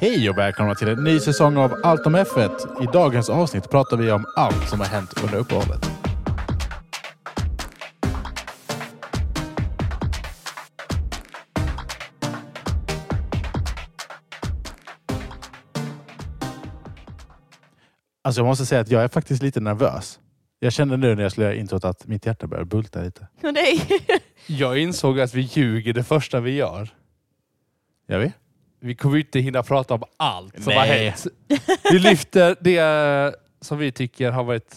Hej och välkomna till en ny säsong av Allt om F1. I dagens avsnitt pratar vi om allt som har hänt under uppehållet. Alltså jag måste säga att jag är faktiskt lite nervös. Jag kände nu när jag skulle göra introt att mitt hjärta börjar bulta lite. Och dig. Jag insåg att vi ljuger det första vi gör. Gör vi? Vi kommer ju inte hinna prata om allt som har Nej. hänt. Vi lyfter det som vi tycker har varit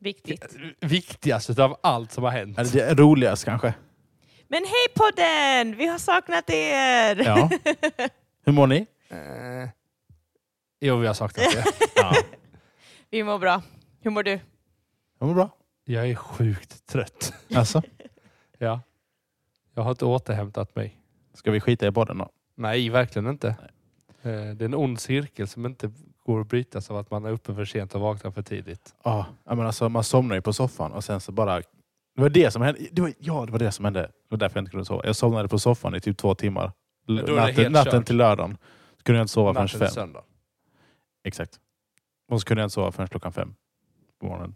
Viktigt. viktigast av allt som har hänt. Eller det är roligast kanske. Men hej podden! Vi har saknat er! Ja. Hur mår ni? Eh, Jo, vi har saknat det. Ja. Vi mår bra. Hur mår du? Jag mår bra. Jag är sjukt trött. Alltså, Ja. Jag har inte återhämtat mig. ska vi skita i podden då? Nej, verkligen inte. Eh, Det är en ond cirkel som inte går att brytas av att man är uppe för sent och vaknar för tidigt. Ja, ja, men alltså, man somnar ju på soffan och sen så bara... Det var det som hände. Det var, ja, det var det som hände. Det var därför jag inte kunde sova. Jag somnade på soffan i typ två timmar. L- Men då är det natten helt natten kört. till lördagen. Så kunde jag inte sova förrän Natten till fem. söndag. Exakt. Och så kunde jag inte sova förrän klockan fem på morgonen.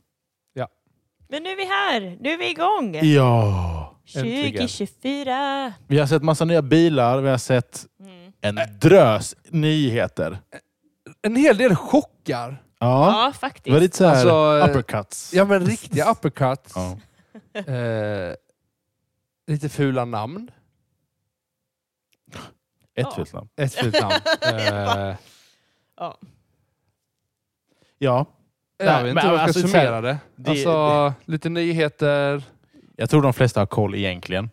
Men nu är vi här. Nu är vi igång. Ja! äntligen. 2024. Vi har sett massa nya bilar. Vi har sett Mm. en drös nyheter. En hel del chockar. Ja, Ja, det faktiskt. var lite så här Alltså, eh, uppercuts. Ja, men riktiga uppercuts. Ja. Eh, lite fula namn. Ett fult namn. Ett fult namn. Eh, Ja, jag vet men inte hur jag ska alltså, summera det. det- Alltså, lite nyheter. jag tror de flesta har koll egentligen.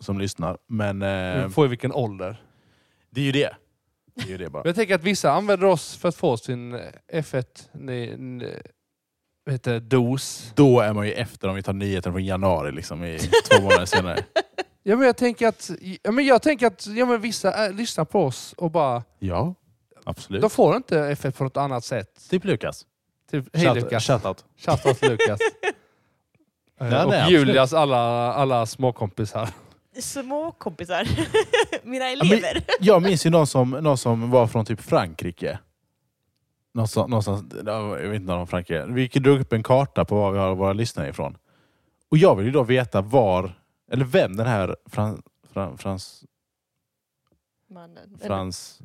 Som lyssnar. Men eh, Vi får ju vilken ålder. det är ju det. Det är ju det bara. Men jag tänker att vissa använder oss för att få sin F1 ni, ni, vad heter det, dos. Då är man ju efter om vi tar nyheten från januari liksom i två månader senare. Ja, men jag tänker att, ja, men jag tänker att ja, men vissa är, lyssnar på oss och bara, Ja, absolut. de får inte F1 på något annat sätt. Typ Lukas. Typ, hej Shout- Lukas. Shoutout. Shoutout till Lukas. Eh, nej, och absolut. Julias alla, alla småkompisar. Små kompisar. Mina men- elever. Jag minns ju någon som, någon som var från typ Frankrike. Någonstans, någonstans, jag vet inte om Frankrike. Vi drog upp en karta på var vi har våra lyssnare ifrån. Och jag vill ju då veta var, eller vem den här Frans... Frans, Frans, Mannen. Frans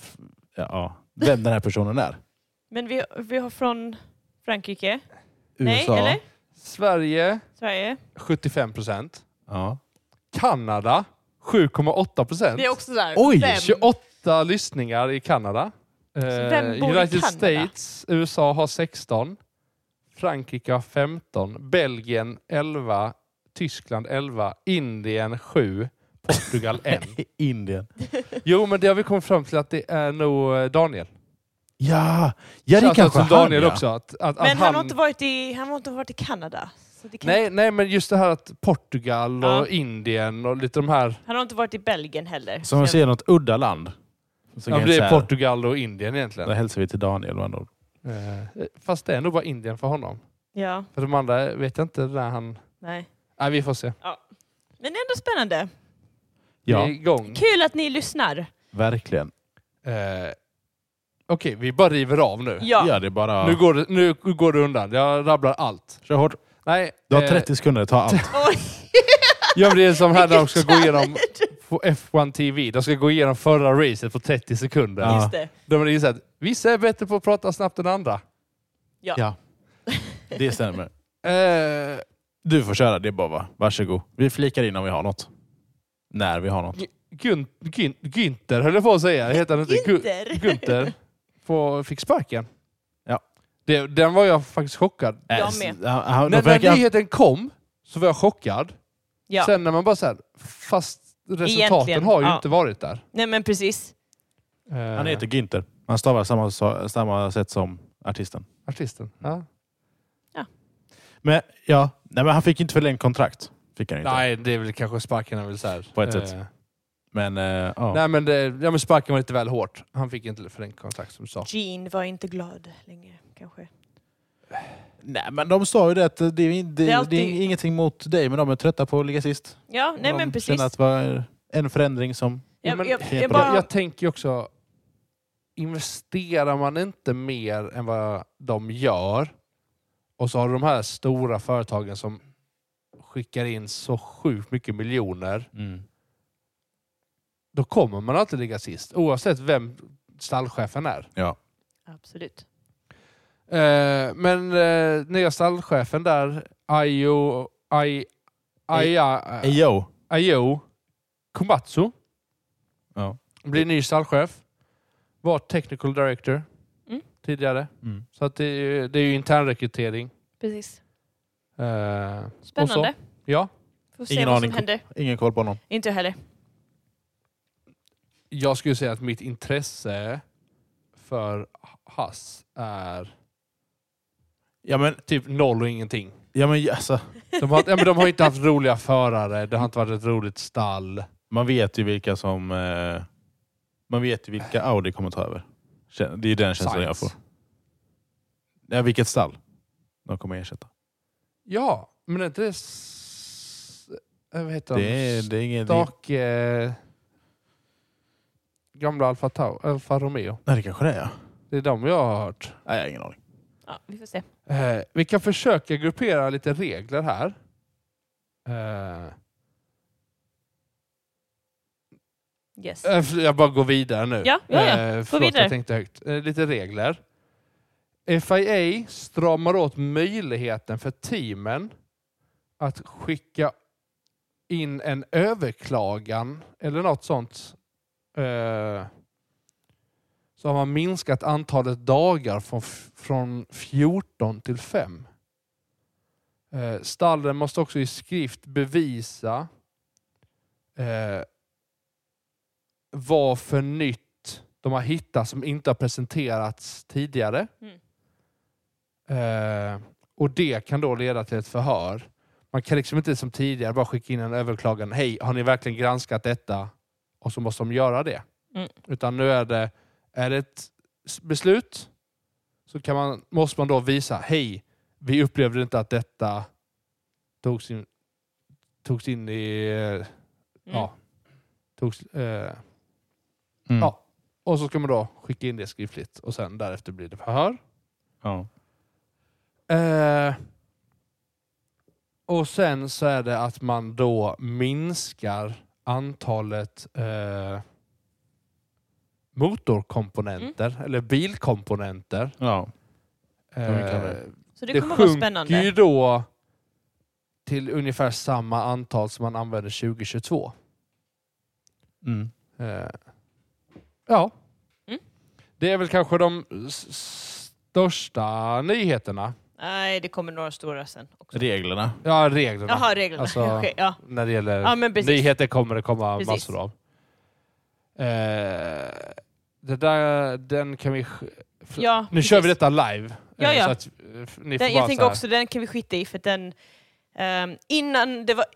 f, ja, ja, vem den här personen är. Men vi, vi har från Frankrike. Nej, USA. eller? Sverige Sverige. 75 procent. Ja. Kanada 7,8 procent. Det är också där. Oj, Vem? 28 lyssningar i Kanada. Eh, vem bor i United Kanada? States, USA har 16. Frankrike har 15. Belgien 11. Tyskland 11. Indien 7. Portugal 1. Indien. Jo, men det har vi kommit fram till att det är nog eh, Daniel. Ja, ja det är Shoutout kanske till Daniel han, ja. också. Att, att, Men att han har inte varit i, han har inte varit i Kanada. Så det kan, Nej, nej, men just det här att Portugal och Ja. Indien och lite de här... Han har inte varit i Belgien heller. Så om vi Så- ser något udda land. Så kan Ja, men jag det säga, är Portugal och Indien egentligen. Då hälsar vi till Daniel. med andra ord. Eh, Fast det är nog bara Indien för honom. Ja, För de andra vet jag inte när han... nej. Nej, vi får se. Men ändå spännande. Vi är Ja, igång. Kul att ni lyssnar. verkligen. Eh, Okej, vi bara river av nu. Ja. Gör det bara. Nu, går det, nu går det undan. Jag rabblar allt. Kör hårt. Nej, Du har eh, 30 sekunder, ta allt. Oj. Jag blir som här när de ska gå igenom Just på F1 TV. De ska gå igenom förra racet på 30 sekunder. Ja. det. De har insett att vissa är bättre på att prata snabbt än andra. Ja. Ja. Det stämmer. Eh, Du får köra, det är bara va. Varsågod. Vi flikar in om vi har något. När vi har något. Gu- Gun, Gun, Günther höll jag på att säga. Heter han inte? Gu- Günther. Günther på, fick sparken. Ja. Det, den var jag faktiskt chockad. Jag Äh, med. s- han- han- När, de verkar- när nyheten kom så var jag chockad. Ja. Sen när man bara såhär, fast resultaten Egentligen, har ju ja. inte varit där. Nej men precis. Eh, Han heter Günther. Han stavar samma, sa- samma sätt som artisten. Artisten. Ja. Men ja, nej, men han fick inte förlängt kontrakt. Fick han inte. Nej, det är väl kanske sparken är väl såhär. På ett Eh, sätt. Men eh, ja. Nej men, det, ja, men sparken var lite väl hårt. Han fick inte förlängt kontrakt som du sa. Jean var inte glad längre kanske. Nej, men de sa ju det att det är, in- det, Det det, är är, alltid- ingenting mot dig, men de är trötta på att ligga sist. Ja, nej de men precis. känner att det var en förändring som... Jo, Jag, men- jag, jag, Helt bara... jag, jag tänker ju också, investerar man inte mer än vad de gör och så har du de här stora företagen som skickar in så sjukt mycket miljoner, Mm. då kommer man alltid ligga sist oavsett vem stallchefen är. Ja. Absolut. Eh, men eh, nya stallchefen där, Ayo, Ay, Aya, Hey, yo. Ayo Komatsu, Ja. blir ny stallchef. Var technical director Mm. tidigare. Mm. Så att det, är ju- det är ju internrekrytering. Precis. Eh, Spännande. ja, Får se Ingen vad aning. som händer. Ingen koll på honom. Inte jag heller. jag skulle säga att mitt intresse för Hass är Ja, men... typ noll och ingenting. Ja, men alltså, De har, ja, men de har inte haft roliga förare, det har inte varit ett roligt stall. man vet ju vilka som... Eh, man vet ju vilka Audi kommer ta över. Kän- Det är ju den känslan jag får. Sainz. Ja, vilket stall de kommer ersätta. Ja, men är inte det... s- eh, Vad heter Det är, de? det är ingen... Det, Stake... eh, Gamla Alfa, Tau, Alfa Romeo. nej, det kanske det är. ja. Det är de jag har hört. Nej, jag har ingen aning. Ja, vi får se. Eh, vi kan försöka gruppera lite regler här. Eh, Yes. eh, för- jag bara går vidare nu. Ja, ja, ja. Eh, Gå förlåt, vidare. jag tänkte högt. Eh, lite regler. FIA stramar åt möjligheten för teamen att skicka in en överklagan eller något sånt. Eh, så har man minskat antalet dagar från, f- från 14 till 5. Eh, stallen måste också i skrift bevisa eh, vad för nytt de har hittat som inte har presenterats tidigare. Mm. Eh, och det kan då leda till ett förhör. Man kan liksom inte som tidigare bara skicka in en överklagan. Hej, har ni verkligen granskat detta? Och så måste de göra det. Mm. Utan nu är det, är det ett s- beslut så kan man, måste man då visa. Hej, vi upplevde inte att detta togs in, togs in i... eh, Mm. Ja, togs, eh, Mm. Ja. och så ska man då skicka in det skriftligt och sen därefter blir det förhör. Ja. Eh, och sen så är det att man då minskar antalet eh, motorkomponenter eller bilkomponenter. Mm. ja. vi kan Eh, det. Så det, det kommer vara sjunker spännande. ju då till ungefär samma antal som man använde 2022. Mm. Eh, ja. Mm. Det är väl kanske de s- s- största nyheterna. Nej, det kommer några stora sen också. Reglerna. Ja, reglerna. Jaha, reglerna. Alltså- Okej, ja. När det gäller ja, men precis. nyheter kommer det komma Precis. massor av. Eh, det där, den kan vi... sk- f- Ja, nu precis. kör vi detta live. eh, Ja, ja. Så att, eh, f- ni får Den, bara jag tänker så här- också den kan vi skita i för den... ehm, innan, det var,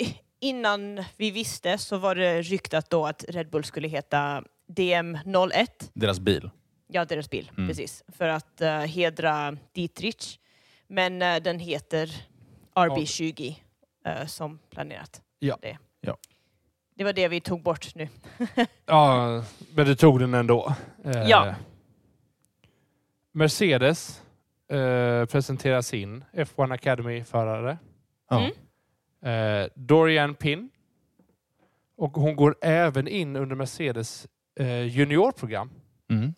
innan vi visste så var det ryktat då att Red Bull skulle heta DM01. Deras bil. Ja, deras bil. Mm. Precis. För att eh, hedra Dietrich. Men eh, den heter RB20 eh, som planerat. Ja. Det. Ja. det var det vi tog bort nu. Ja, men du tog den ändå. Eh, Ja. Mercedes eh, presenterar sin F1 Academy-förare. Ja. Mm. Eh, Dorian Pin. Och hon går även in under Mercedes eh, juniorprogram. Mm.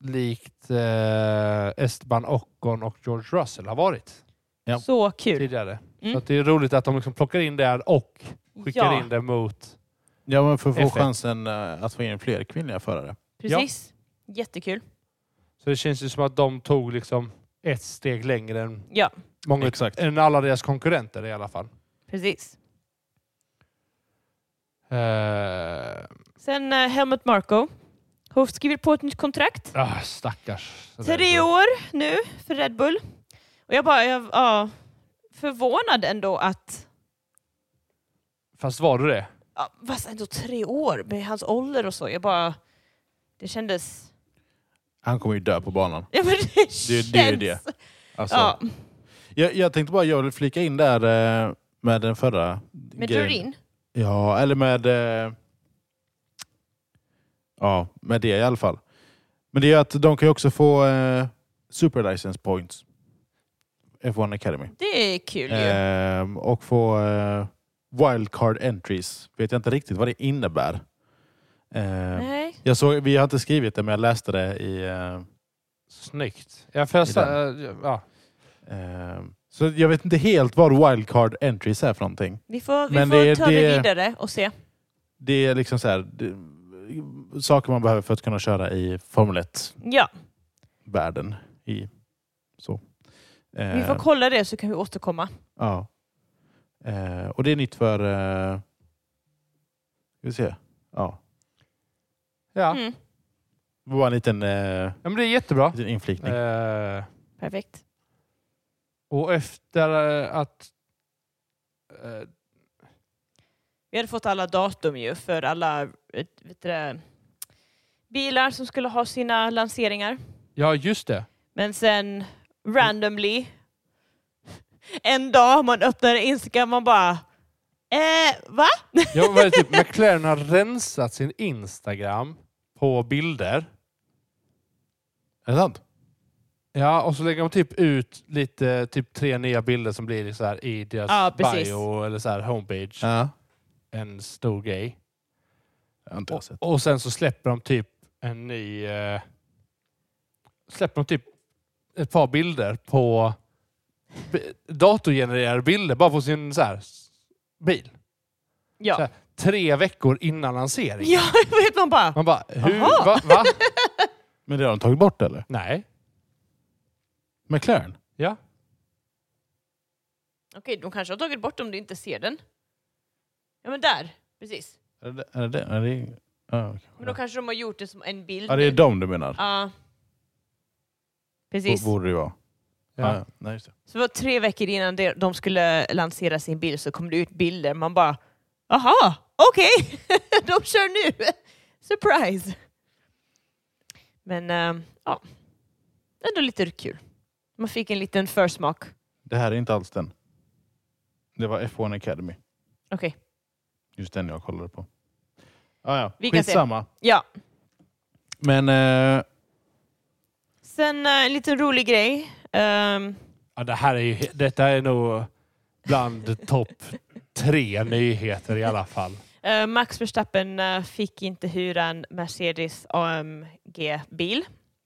Likt eh, Esteban Ocon och George Russell har varit Ja. Så kul. tidigare. Mm. Så att det är roligt att de liksom plockar in det här och skickar Ja, in det mot... Ja, men för att få F1. chansen eh, att få in fler kvinnliga förare. precis. Jättekul. Så det känns ju som att de tog liksom ett steg längre än Ja, många Exakt. än alla deras konkurrenter i alla fall. precis. Eh, Sen eh, Helmut Marko. Har skrivit på ett nytt kontrakt. ah, stackars. Tre år nu för Red Bull. Och jag bara, jag, ja, förvånad ändå att, Fast var du det? ja, fast ändå tre år med hans ålder och så. Jag bara, det kändes Han kommer ju dö på banan. Ja men det Det- känns. det är ju det. Alltså, Ja, jag, jag tänkte bara jag vill flika in där eh, med den förra. med grejen. Durin. Ja, eller med... Eh, ja, med det i alla fall. Men det är att de kan ju också få eh, super license points. F1 Academy. Det är kul ju. Ehm, och få eh, wildcard entries. Vet jag inte riktigt vad det innebär. Ehm, Nej. jag såg, vi har inte skrivit det, men jag läste det i... Eh, Snyggt. Ja, för jag, I sa- eh, ja. ehm, så jag vet inte helt vad wildcard entries är för någonting. Vi får, vi Men får det- ta det, det- vidare och se. Det är liksom så här, det, saker man behöver för att kunna köra i Formel 1 Ja, världen. I, så. vi får Eh, kolla det så kan vi återkomma. ja. Eh, och det är nytt för... Eh, ska vi se. Ja. Ja. Mm. Det var bara en liten, eh, ja, men det är jättebra. liten inflikning. Eh, Perfekt. och efter eh, att... eh, Vi hade fått alla datum ju för alla eh, vet du, det, bilar som skulle ha sina lanseringar. ja, just det. Men sen randomly en dag man öppnar Instagram man bara eh, va? Jag var typ, McLaren har rensat sin Instagram på bilder. Är det sant? Ja, och så lägger de typ ut lite, typ tre nya bilder som blir så här i deras Ja, precis. bio eller så här homepage. Ja. En stor grej. Jag har inte jag Och, sett. och sen så släpper de typ en ny... Eh, släpper de typ ett par bilder på b- datorgenererade bilder bara på sin så här, s- bil. Så Ja. här, tre veckor innan lansering. Ja, vet man bara. Man bara, hur? Aha. Va? va? Men det har de tagit bort eller? Nej. McLaren? Ja. Okej, de kanske har tagit bort om du inte ser den. Ja men där, precis. Är det är det? Är det ja, okej. Men då kanske de har gjort det som en bild. ja, det är nu. dem du menar? Ja. B- Precis. Borde det ju vara. Ja. Ja. Ja, nej, just det. Så det var tre veckor innan det- de skulle lansera sin bil så kom det ut bilder. Man bara, aha, okej, de kör nu. Surprise. Men eh, ja, ändå lite kul. Man fick en liten försmak. det här är inte alls den. Det var F1 Academy. Okej, Just den jag kollade på. Ah, ja, Vi kan se. skitsamma. ja. Men eh, Sen eh, en liten rolig grej. Ehm, Ja, det här är ju, detta är nog bland topp tre nyheter i alla fall. Eh, Max Verstappen eh, fick inte hyra en Mercedes AMG-bil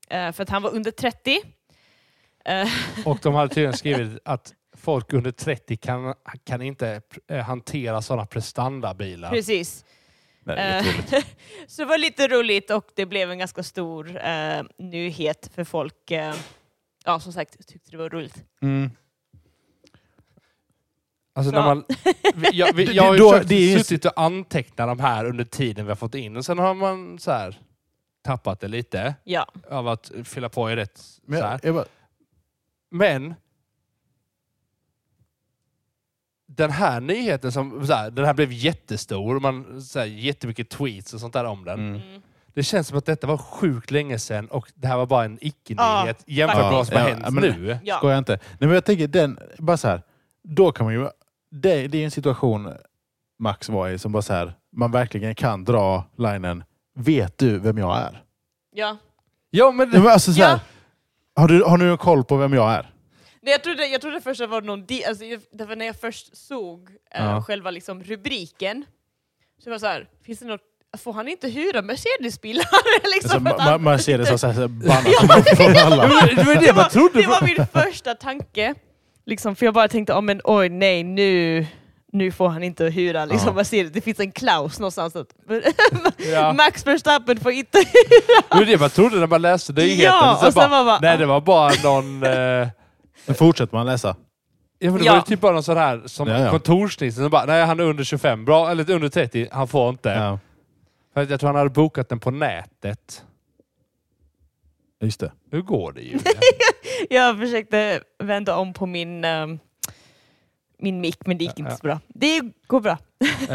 eh, för att han var under 30. Eh, Och de hade tydligen skrivit att folk under 30 kan, kan inte eh, hantera sådana prestandabilar. Precis. nej, det är Eh, otroligt. så det var lite roligt och det blev en ganska stor eh, nyhet för folk. Eh, ja, som sagt, tyckte det var roligt. mm. Alltså när Ja. man, vi- jag, vi, Det- jag har ju då- försökt det är ju- suttit och anteckna de här under tiden vi har fått in och sen har man så här tappat det lite Ja, av att fylla på i rätt Men så här. jag, jag bara, Men den här nyheten som så här, den här blev jättestor, och man, så här, jättemycket tweets och sånt där om den. mm. Det känns som att detta var sjukt länge sedan och det här var bara en icke-nyhet jämfört faktiskt. med vad som har Ja, hänt men- nu. ja. Skojar inte. Nej, men jag tänker, den, bara så här, då kan man ju... Det, det är en situation Max var i som bara så här, man verkligen kan dra linen Vet du vem jag är? ja. Ja, men, Nej, men alltså så här, Ja. har, du, har du någon koll på vem jag är? Nej, jag, trodde, jag trodde först att det var någon... Di- alltså, jag, därför när jag först såg eh, Ja. själva liksom, rubriken så var jag så här, finns det något... Får han inte hyra Mercedes-bilar? liksom, Alltså, för att han- ma- Mercedes har så här, så här bannat från alla. det var det man trodde. Det var min första tanke. Liksom, för jag bara tänkte, oh, men, oj nej, nu, nu får han inte hyra. Liksom, Ja. vad ser du? Det finns en klaus någonstans. Att, Ja. Max Verstappen får inte... Det var det man trodde när man läste nyheten. Ja, och sen man bara- nej, det var bara någon... Eh, Men fortsätter man läsa. ja, men det Ja. var ju typ bara någon sån här som Ja, ja. kontorsnissen som bara, nej han är under 25, bra, eller under 30, han får inte. Ja, För att jag tror han hade bokat den på nätet. just det. Hur går det ju? jag försökte vända om på min, ehm, min mick, men det gick inte Ja, så bra. Det går bra.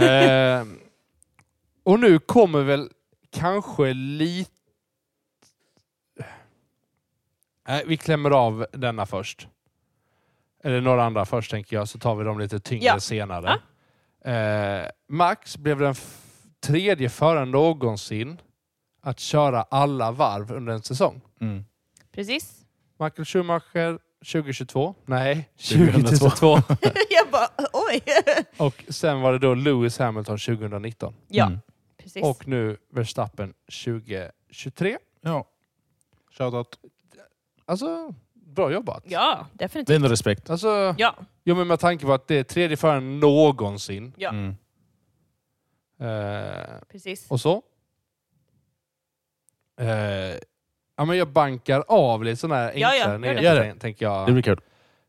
eh, och nu kommer väl kanske lite... Nej, vi klämmer av denna först. Eller några andra först tänker jag, så tar vi dem lite tyngre Ja. senare. Eh, Max blev den f- tredje föraren någonsin att köra alla varv under en säsong. Mm. Precis. Michael Schumacher 2022? Nej, 2022. 2022. jag bara, oj. Och sen var det då Lewis Hamilton 2019. ja, Mm. precis. Och nu Verstappen 2023. Ja. Shoutout. Alltså, bra jobbat. Ja, definitivt. Vinner respekt. Alltså, Ja, jo, men med tanke på att det är tredje föraren någonsin. Ja. Mm. Eh, precis. och så. Eh, ja, men jag bankar av lite sådana här Ja, enklare ja, gör nyheter, det. Gör det. tän- tänker jag. Det blir kul.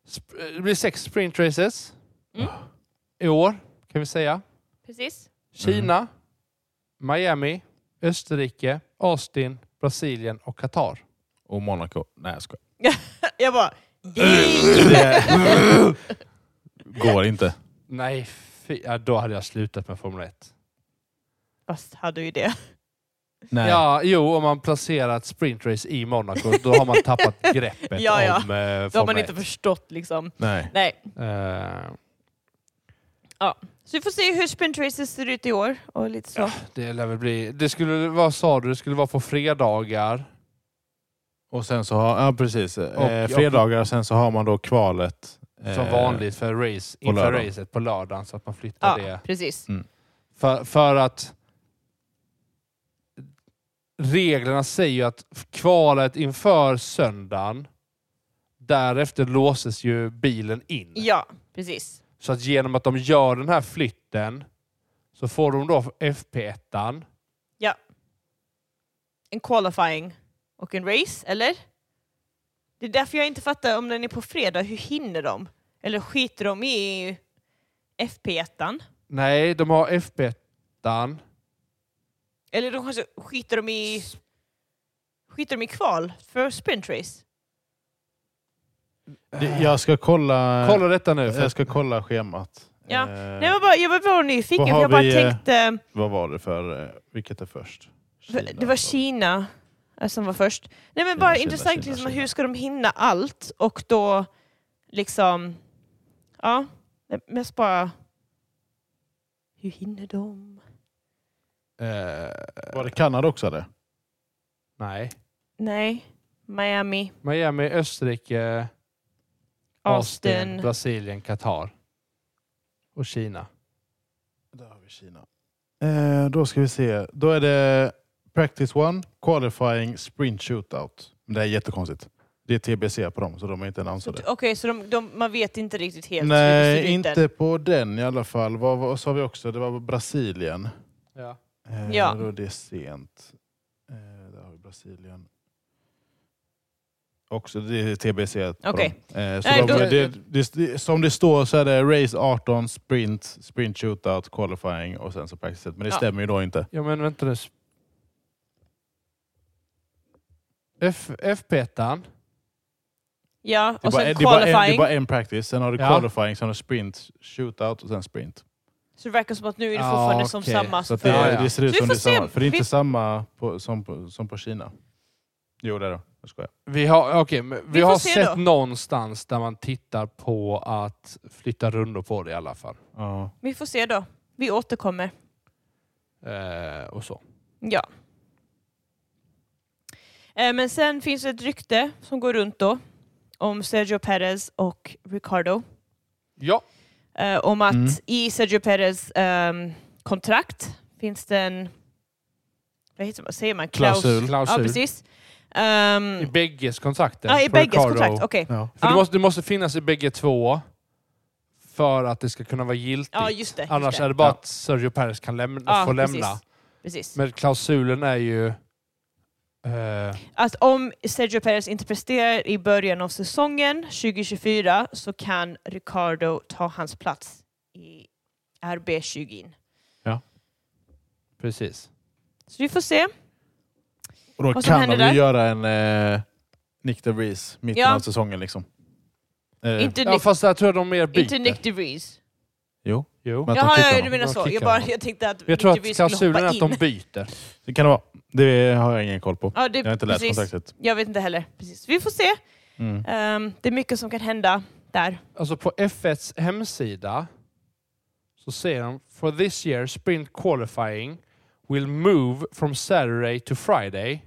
Sp- det blir sex sprint races Mm. i år, kan vi säga. precis. Kina, Miami, Österrike, Austin, Brasilien och Qatar. Och Monaco. Nej, jag skojar. Jag bara, Mm. Går inte. Nej, fy, ja, då hade jag slutat med Formel 1. fast hade ju det. Nej. Ja, jo, om man placerar ett sprintrace i Monaco, då har man tappat greppet Ja, ja. om eh, Då har Formel man 1. inte förstått liksom. Nej. Nej. Eh, Så vi får se hur sprintraces ser ut i år och lite så. det lär väl bli... Det skulle, vad sa du? Det skulle vara på fredagar. Och sen så har, ja precis. eh, och- fredagar, sen så har man då kvalet. eh, Som vanligt för race, på inför lördagen. racet på lördagen så att man flyttar Ja, det. precis. För, för att reglerna säger ju att kvalet inför söndagen, därefter låses ju bilen in. Ja, precis. Så att genom att de gör den här flytten så får de då FP1. En qualifying och en race, eller? Det är därför jag inte fattar om den är på fredag, hur hinner de? Eller skiter de i FP1? Nej, de har FP1. Eller de kanske skiter de i... Skiter de i kval för sprintrace? Det- Jag ska kolla, Kolla detta nu. För jag ska kolla schemat. Ja. Eh, Nej, jag, var bara, jag var bara nyfiken, vad för har jag bara vi, eh, tänkte... Vad var det för, eh, vilket är först? Kina, Det var Kina eh, som var först. Nej men Kina, bara Kina, intressant Kina, liksom, Kina. hur ska de hinna allt? Och då liksom... Ja, det- mest bara... Hur hinner de? eh, Var det Kanada också eller? nej. Nej. Miami, Miami, Österrike, Austin, Austin. Brasilien, Qatar och Kina. Där har vi Kina. Eh, då ska vi se. Då är det Practice One, Qualifying, Sprint Shootout. Men det är jättekonstigt. Det är TBC på dem, så de är inte Så annonserade. Okej, så de, de, man vet inte riktigt helt. hur det ser Nej, ut inte än. på den i alla fall. Vad, vad sa vi också? Det var Brasilien. Ja. Eh, Ja. Då är det sent. Eh, där har vi Brasilien. Också det är TBC. på Okej. dem. Eh, så Nej, de, då- det, det, det, som det står så är det Race 18, Sprint, Sprint Shootout, Qualifying och sen så Practice. Men det Ja. stämmer ju då inte. ja, men vänta nu. Sp- F- FP1. Ja, Det är, och bara, sen det, är bara en, det är qualifying. bara en practice, sen har du Ja. qualifying, sen har du sprint, shootout och sen sprint. Så det verkar som att nu är det Ja, fortfarande som okej. samma. Ah, Så att det, för- Ja, ja. det ser ut Så vi som det är får se. samma. För det är inte Vi- samma på, som, på, som på Kina. Jo, det är det. Jag skojar. Vi har, okay, men vi Vi får har se sett då. någonstans där man tittar på att flytta rundor på det i alla fall. Ja. Vi får se då. Vi återkommer. Eh, och så. Ja. Eh, Men sen finns det ett rykte som går runt då om Sergio Perez och Ricardo. Ja, Eh, Om att Mm. i Sergio Perez ehm, kontrakt finns det en... Vad heter, vad säger man? Klaus- Klausul. Ja, klausul. precis. Ehm, I bägges kontrakter. ja, I för bägges Ricardo. kontrakt. Okej. Ja. För det, Ja. måste, det måste finnas i bägge två för att det ska kunna vara giltigt. Ja, just det. Just Annars det. är det bara Ja. att Sergio Perez kan lämna, Ja, få precis. lämna. Precis. Men klausulen är ju... eh, Att om Sergio Perez inte presterar i början av säsongen 2024 så kan Ricardo ta hans plats i RB20. precis. Så vi får se. Och då Vad som kan de händer ju där? göra en eh, Nick DeVries mitten Ja. av säsongen. Liksom. Eh, Inte, Ja, Nick, fast där tror jag de mer byter. inte Nick DeVries. Jo, Jo. Men- Att de Jaha, kickar ja, du honom. menar De så. Jag, kickar bara, honom. jag tänkte att Jag tror Nick att DeVries skulle klausulen hoppa är att de in. byter. det kan det vara. Det har jag ingen koll på. Ja, det, Jag har inte läst precis. kontraktet. Jag vet inte heller. Precis. Vi får se. Mm. Ehm, det är mycket som kan hända där. Alltså på F1s hemsida så säger de For this year sprint qualifying will move from Saturday to Friday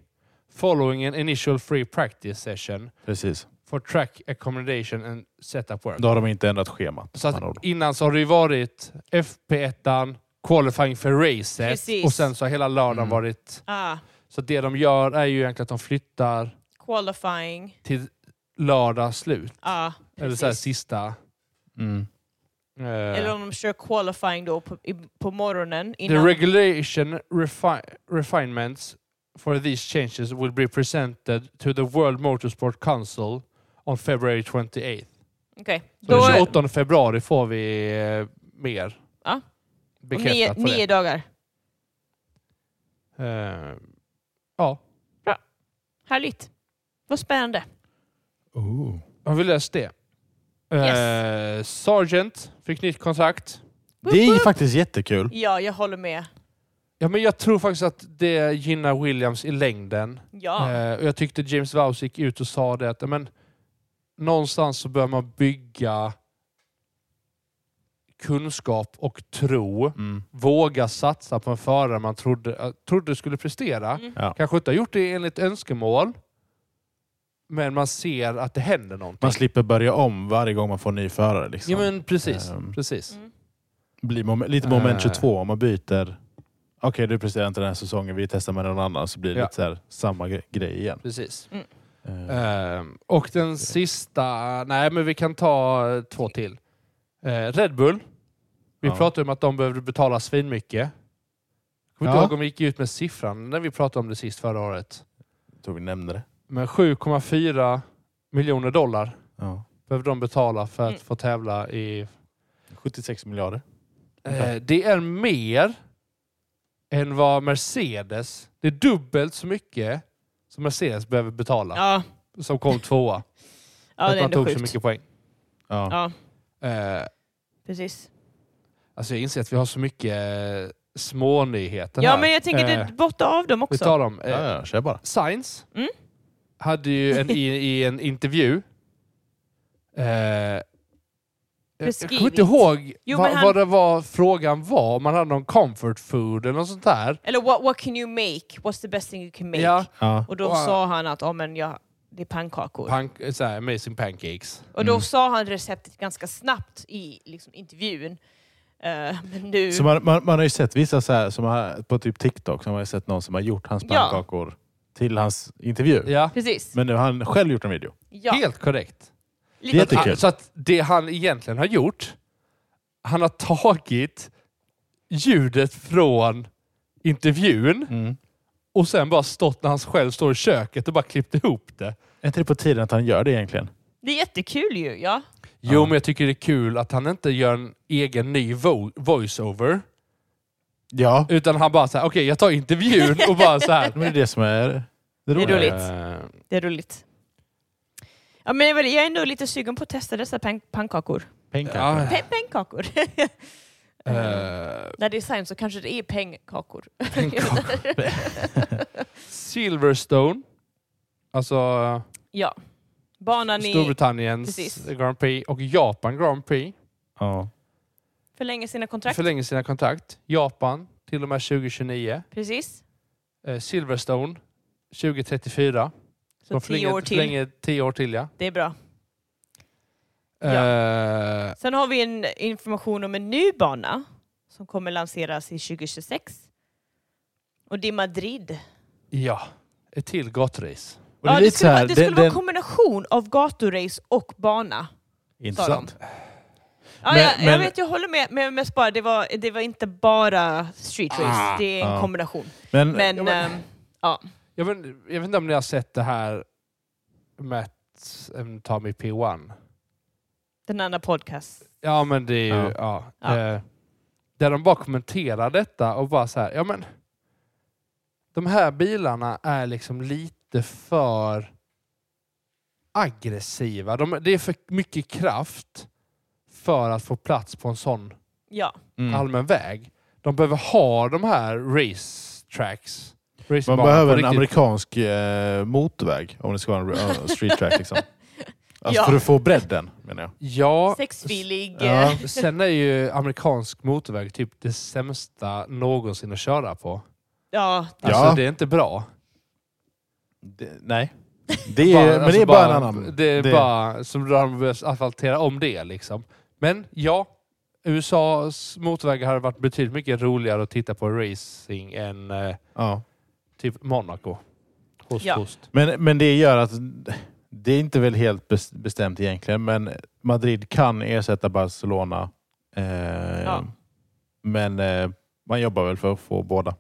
following an initial free practice session Precis. for track accommodation and setup work. Då har de inte ändrat schemat. Så med andra ord. att innan så har det ju varit FP1, qualifying för racet Precis. och sen så har hela lördagen Mm. varit... Ah, Så det de gör är ju egentligen att de flyttar qualifying. till lördag slut. Ah, Eller så här precis. sista... mm. eh, Eller om de kör qualifying då på, i, på morgonen. The Innan. regulation refi refinements for these changes will be presented to the World Motorsport Council on February 28th. Okej. Så den Då, 28 februari får vi eh, mer Ja. om bekräftat nio, på nio dagar. det. Eh, ja, Härligt. Vad spännande. Ooh. har vi löst det? Eh, Sargent fick nytt kontrakt. Det är ju faktiskt jättekul. Ja, jag håller med. Ja, men jag tror faktiskt att det gynnar Williams i längden. Ja. Mm. Eh, och jag tyckte James Vowse gick ut och sa det att men, någonstans så bör man bygga kunskap och tro. Mm. Våga satsa på en förare man trodde, eh, trodde skulle prestera. Mm. Ja. Kanske inte har gjort det enligt önskemål, men man ser att det händer någonting. Man slipper börja om varje gång man får en ny förare. Liksom. Ja, men precis. Ehm. precis. Mm. Blir mom- lite Eh. moment 22 om man byter. Okej, du presterar inte den här säsongen. Vi testar med någon annan. Så blir det Ja. lite så här, samma gre- grej igen. precis. Eh, Ehm, och den sista... Nej, men vi kan ta eh, två till. Eh, Red Bull. Vi Ja. pratade om att de behövde betala svinmycket. Kommer inte Ja. ihåg om vi gick ut med siffran när vi pratade om det sist förra året. Jag tror vi nämnde det. Men 7,4 miljoner dollar Ja. behövde de betala för att Mm. få tävla i... 76 miljarder. Eh, det är mer än vad Mercedes... Det är dubbelt så mycket som Mercedes behöver betala. Ja, Som kom tvåa. ja det för att är man ändå tog så sjukt. mycket poäng. Ja. Ja, Eh, precis. Alltså jag inser att vi har så mycket eh, små nyheter Ja, här. men jag tänker Eh, det borta av dem Vi också. tar dem. Ja, Eh, ja, kör bara. Science Mm. hade ju en, i, i en intervju eh, jag- Jag kommer Beskrivit. inte ihåg Jo, vad, men han- vad det var frågan var, om man hade någon comfort food eller något sånt där. Eller what, what can you make? What's the best thing you can make? Ja, Ja. Och då Och, sa han att oh, men ja, det är pannkakor. pank, eh, så här, amazing pancakes. och då sa han receptet ganska snabbt i liksom, intervjun. Eh, men nu... Så man, man, man har ju sett vissa så här, som har, på typ TikTok, som har jag sett någon som har gjort hans Ja. pannkakor till hans intervju. Ja, Precis. Men nu har han själv gjort en video. ja. helt korrekt. Lite Jättekul. Ah, Så att det han egentligen har gjort, han har tagit ljudet från intervjun och sen bara stått när han själv står i köket och bara klippt ihop det. Är inte det på tiden att han gör det egentligen? Det är jättekul ju, ja. Jo, men jag tycker det är kul att han inte gör en egen ny vo- voiceover. Ja. Utan han bara så här, okej jag tar intervjun och bara så här. Men det är det som är det Det är roliga. roligt. Eh, Det är roligt. Ja, men jag är väl- jag är ändå lite sugen på att testa dessa pann- pannkakor. Pengar. Pe- pannkakor. eh, När det är science så kanske det är pengkakor. Silverstone, alltså ja. Banan i Storbritanniens Precis. Grand Prix och Japan Grand Prix. Ja. förlänger sina kontrakt. förlänger sina kontrakt. Japan till och med 2029. Precis. Eh, Silverstone 2034. Så tio år till. Förlänger tio år till, ja. Det är bra. Ja. Eh, Sen har vi en information om en ny bana som kommer lanseras i 2026. Och det är Madrid. ja. Ett till gatrace. Och det är ja, det lite så skulle, vara- här, det skulle den, vara en den, kombination av gaturace och bana. intressant. Ja, Men- jag, jag men- vet, jag håller med. Men mest bara, det, var, det var inte bara street race. det är en ja. kombination. Men, Men, Ja, men- ehm, ja. Jag vet, jag vet inte om ni har sett det här med um, Tommy P1. den andra podcast. Ja, men det är ju... Ja. Ja. Eh, där de bara kommenterar detta och bara så här, ja men... De här bilarna är liksom lite för aggressiva. De, det är för mycket kraft för att få plats på en sån Ja. mm. allmän väg. De behöver ha de här race tracks. Man racebanor på behöver en riktigt. amerikansk eh, motorväg om det ska vara en eh, street track. Liksom. Alltså Ja. för att få bredden, menar jag. Ja, Sexfilig. Ja. eh, sen är ju amerikansk motorväg typ det sämsta någonsin att köra på. Ja. Alltså Ja. det är inte bra. Det- nej. Det är, men det är bara, en annan... alltså, Det är bara som de behöver asfaltera om det liksom. Men ja, USAs motorvägar hade varit betydligt mycket roligare att titta på racing än eh, Ja. typ Monaco. Host, Ja. host. Men, men det gör att... Det är inte väl helt bes- bestämt egentligen, men Madrid kan ersätta Barcelona. Eh, Ja. Men eh, man jobbar väl för att få båda.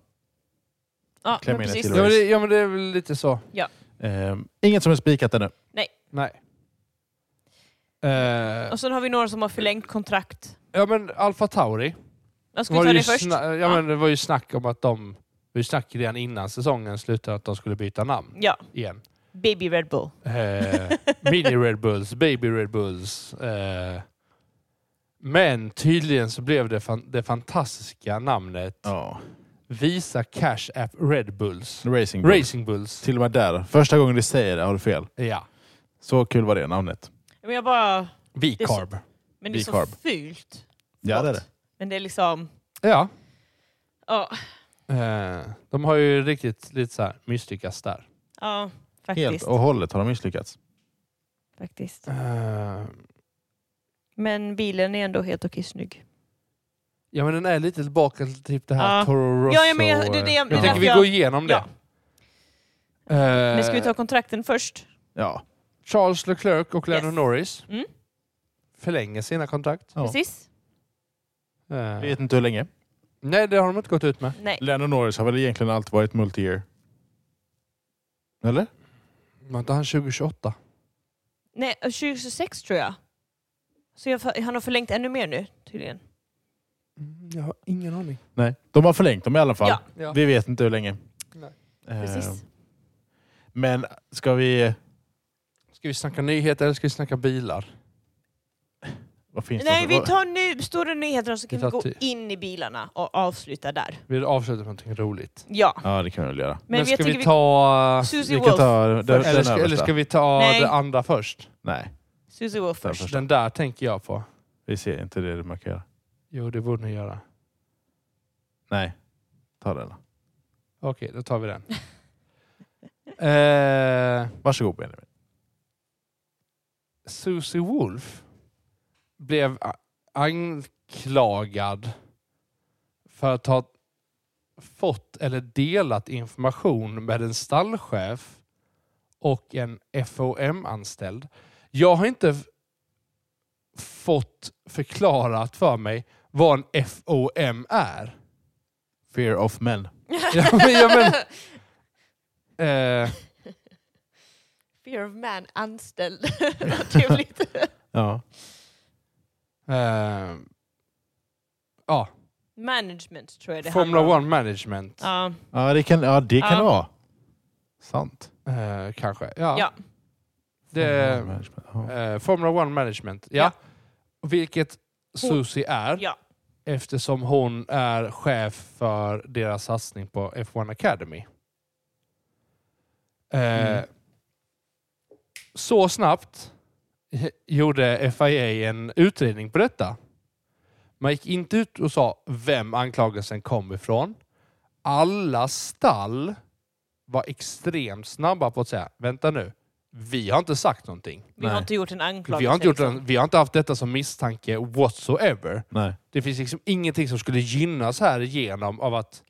ja Kläm men in ett precis. till Ja men, det, ja men det är väl lite så. Eh, inget som är spikat ännu. Nej. Eh, Och sen har vi några som har förlängt kontrakt. ja men Alfa Tauri. Ja, Ska var vi ta ju det först? sna- ja, men det var ju snack om att de... Vi snackade redan innan säsongen slutade att de skulle byta namn Ja, igen. Baby Red Bull. Eh, mini Red Bulls, Baby Red Bulls. Eh, men tydligen så blev det, fan, det fantastiska namnet Ja. Visa Cash App Red Bulls. Racing Bulls. Racing Bulls. Till och med där. Första gången du säger det har du fel. Ja. Så kul var det namnet. Men jag bara... V-Carb. Men det är så Bicarb. fult. Ja, det är det. Men det är liksom... Ja. Ja, Eh, de har ju riktigt lite så här mystikas där. ja faktiskt. Helt och hållet har de misslyckats. faktiskt. Eh, Men bilen är ändå helt okej snygg. ja men den är lite tillbaka till typ det här Ja. Toro Rosso. Ja, ja, men jag- det- det- eh, det- jag det- tycker vi jag- går igenom det. Ja. Eh, Men ska vi ta kontrakten först? Ja. Charles Leclerc och Lando Yes. Norris Mm. förlänger sina kontrakt. Ja. Precis? Eh, Vet inte hur länge. Nej, det har de inte gått ut med. Nej. Lennon Norris har väl egentligen alltid varit multi-year? Eller? Var inte han 2028? Nej, 2026 tror jag. Så jag, han har förlängt ännu mer nu tydligen. Mm, Jag har ingen aning. Nej. De har förlängt dem i alla fall. Ja. Ja. Vi vet inte hur länge. Nej. Eh, Precis. Men ska vi... Ska vi snacka nyheter eller ska vi snacka bilar? Vad finns Nej, det? vi tar nu stora nyheterna så kan Vi vi tar gå till- in i bilarna och avsluta där. Vi avslutar med någonting roligt. Ja, Ja, det kan vi väl göra. men, Men, jag ska tycker vi vi... ta... Susie Vi kan Wolf. ta den, den Eller ska, översta. eller ska vi ta Nej. det andra först? Nej, Susie Wolf den först. första. Den där tänker jag på. Vi ser inte det man kan göra. Jo, det borde ni göra. Nej, ta den. då. Okej, då tar vi den. eh, Varsågod Benjamin. Susie Wolf blev a- anklagad för att ha fått eller delat information med en stallchef och en FOM-anställd. Jag har inte f- fått förklarat för mig vad en FOM är. Fear of men. ja, men, ja, men, eh, Fear of man anställd. Vad Trevligt. Ja. eh, ja, Management tror jag det handlar om. Formula One Management. Ja, Ja, det kan, ja, det kan Ja. det vara. Sant. Eh, kanske. Ja. Ja. Det, Formula Management. Ja. eh, Formula One Management. Ja. Vilket Susie är ja. eftersom hon är chef för deras satsning på F1 Academy. Eh, Mm. Så snabbt gjorde FIA en utredning på detta. Man gick inte ut och sa vem anklagelsen kom ifrån. Alla stall var extremt snabba på att säga, vänta nu, vi har inte sagt någonting. Vi har Nej. inte gjort en anklagelse. Vi har, inte gjort liksom. en, vi har inte haft detta som misstanke whatsoever. Nej. Det finns liksom ingenting som skulle gynnas här igenom av att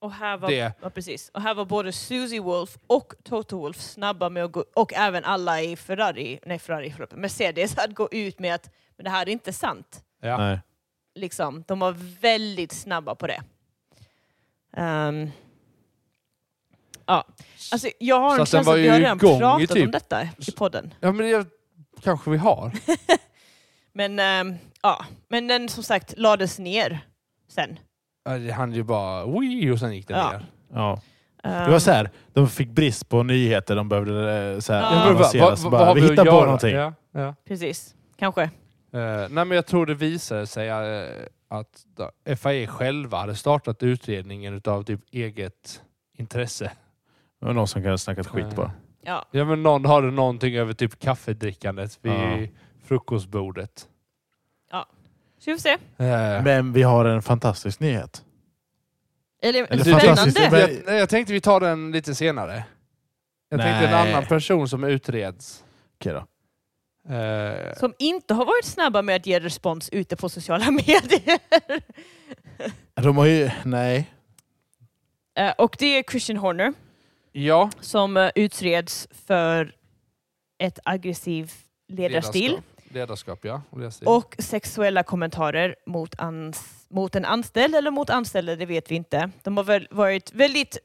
Och här var, Det- ja, precis. Och här var både Susie Wolf och Toto Wolf snabba med att gå, och även alla i Ferrari, nej Ferrari, förlåt, Mercedes, att gå ut med att men det här är inte sant. Ja. Nej. Liksom, de var väldigt snabba på det. Ehm, ja. alltså, jag har Så en att den känsla var att vi har ju redan igång i pratat typ- om detta i podden. Ja, men det kanske vi har. Men, ehm, ja. men den som sagt lades ner sen. Ja, Det hann ju bara... Wii, och sen gick det Ja. ner. Ja. Ehm, Det var så här, de fick brist på nyheter. De behövde eh, så här, Ja. Ja, men annonseras. vad- vad- Bara, vad har vi att hittar på göra? någonting. Ja, ja. Ehm, Precis, kanske. Eh, nej, men jag tror det visade sig eh, att då- FIA själva hade startat utredningen utav typ eget intresse. Det var någon som kan ha snackat skit bara. Ja. Ja, men någon hade någonting över typ kaffedrickandet vid Ja. frukostbordet. Så vi får se. Eh, Men vi har en fantastisk nyhet. Eller, Eller fantastiskt, spännande. men- jag, nej, jag tänkte vi tar den lite senare. Jag tänkte en Nej. annan person som utreds. Okej då. Eh, Som inte har varit snabba med att ge respons ute på sociala medier. De har ju... Nej. Eh, Och det är Christian Horner ja, som eh, utreds för ett aggressivt ledarstil. Ledarskap, ledarskap ja. Och Ledarstil. Och sexuella kommentarer mot, ans- mot en anställd eller mot anställda, det vet vi inte. De har väl varit väldigt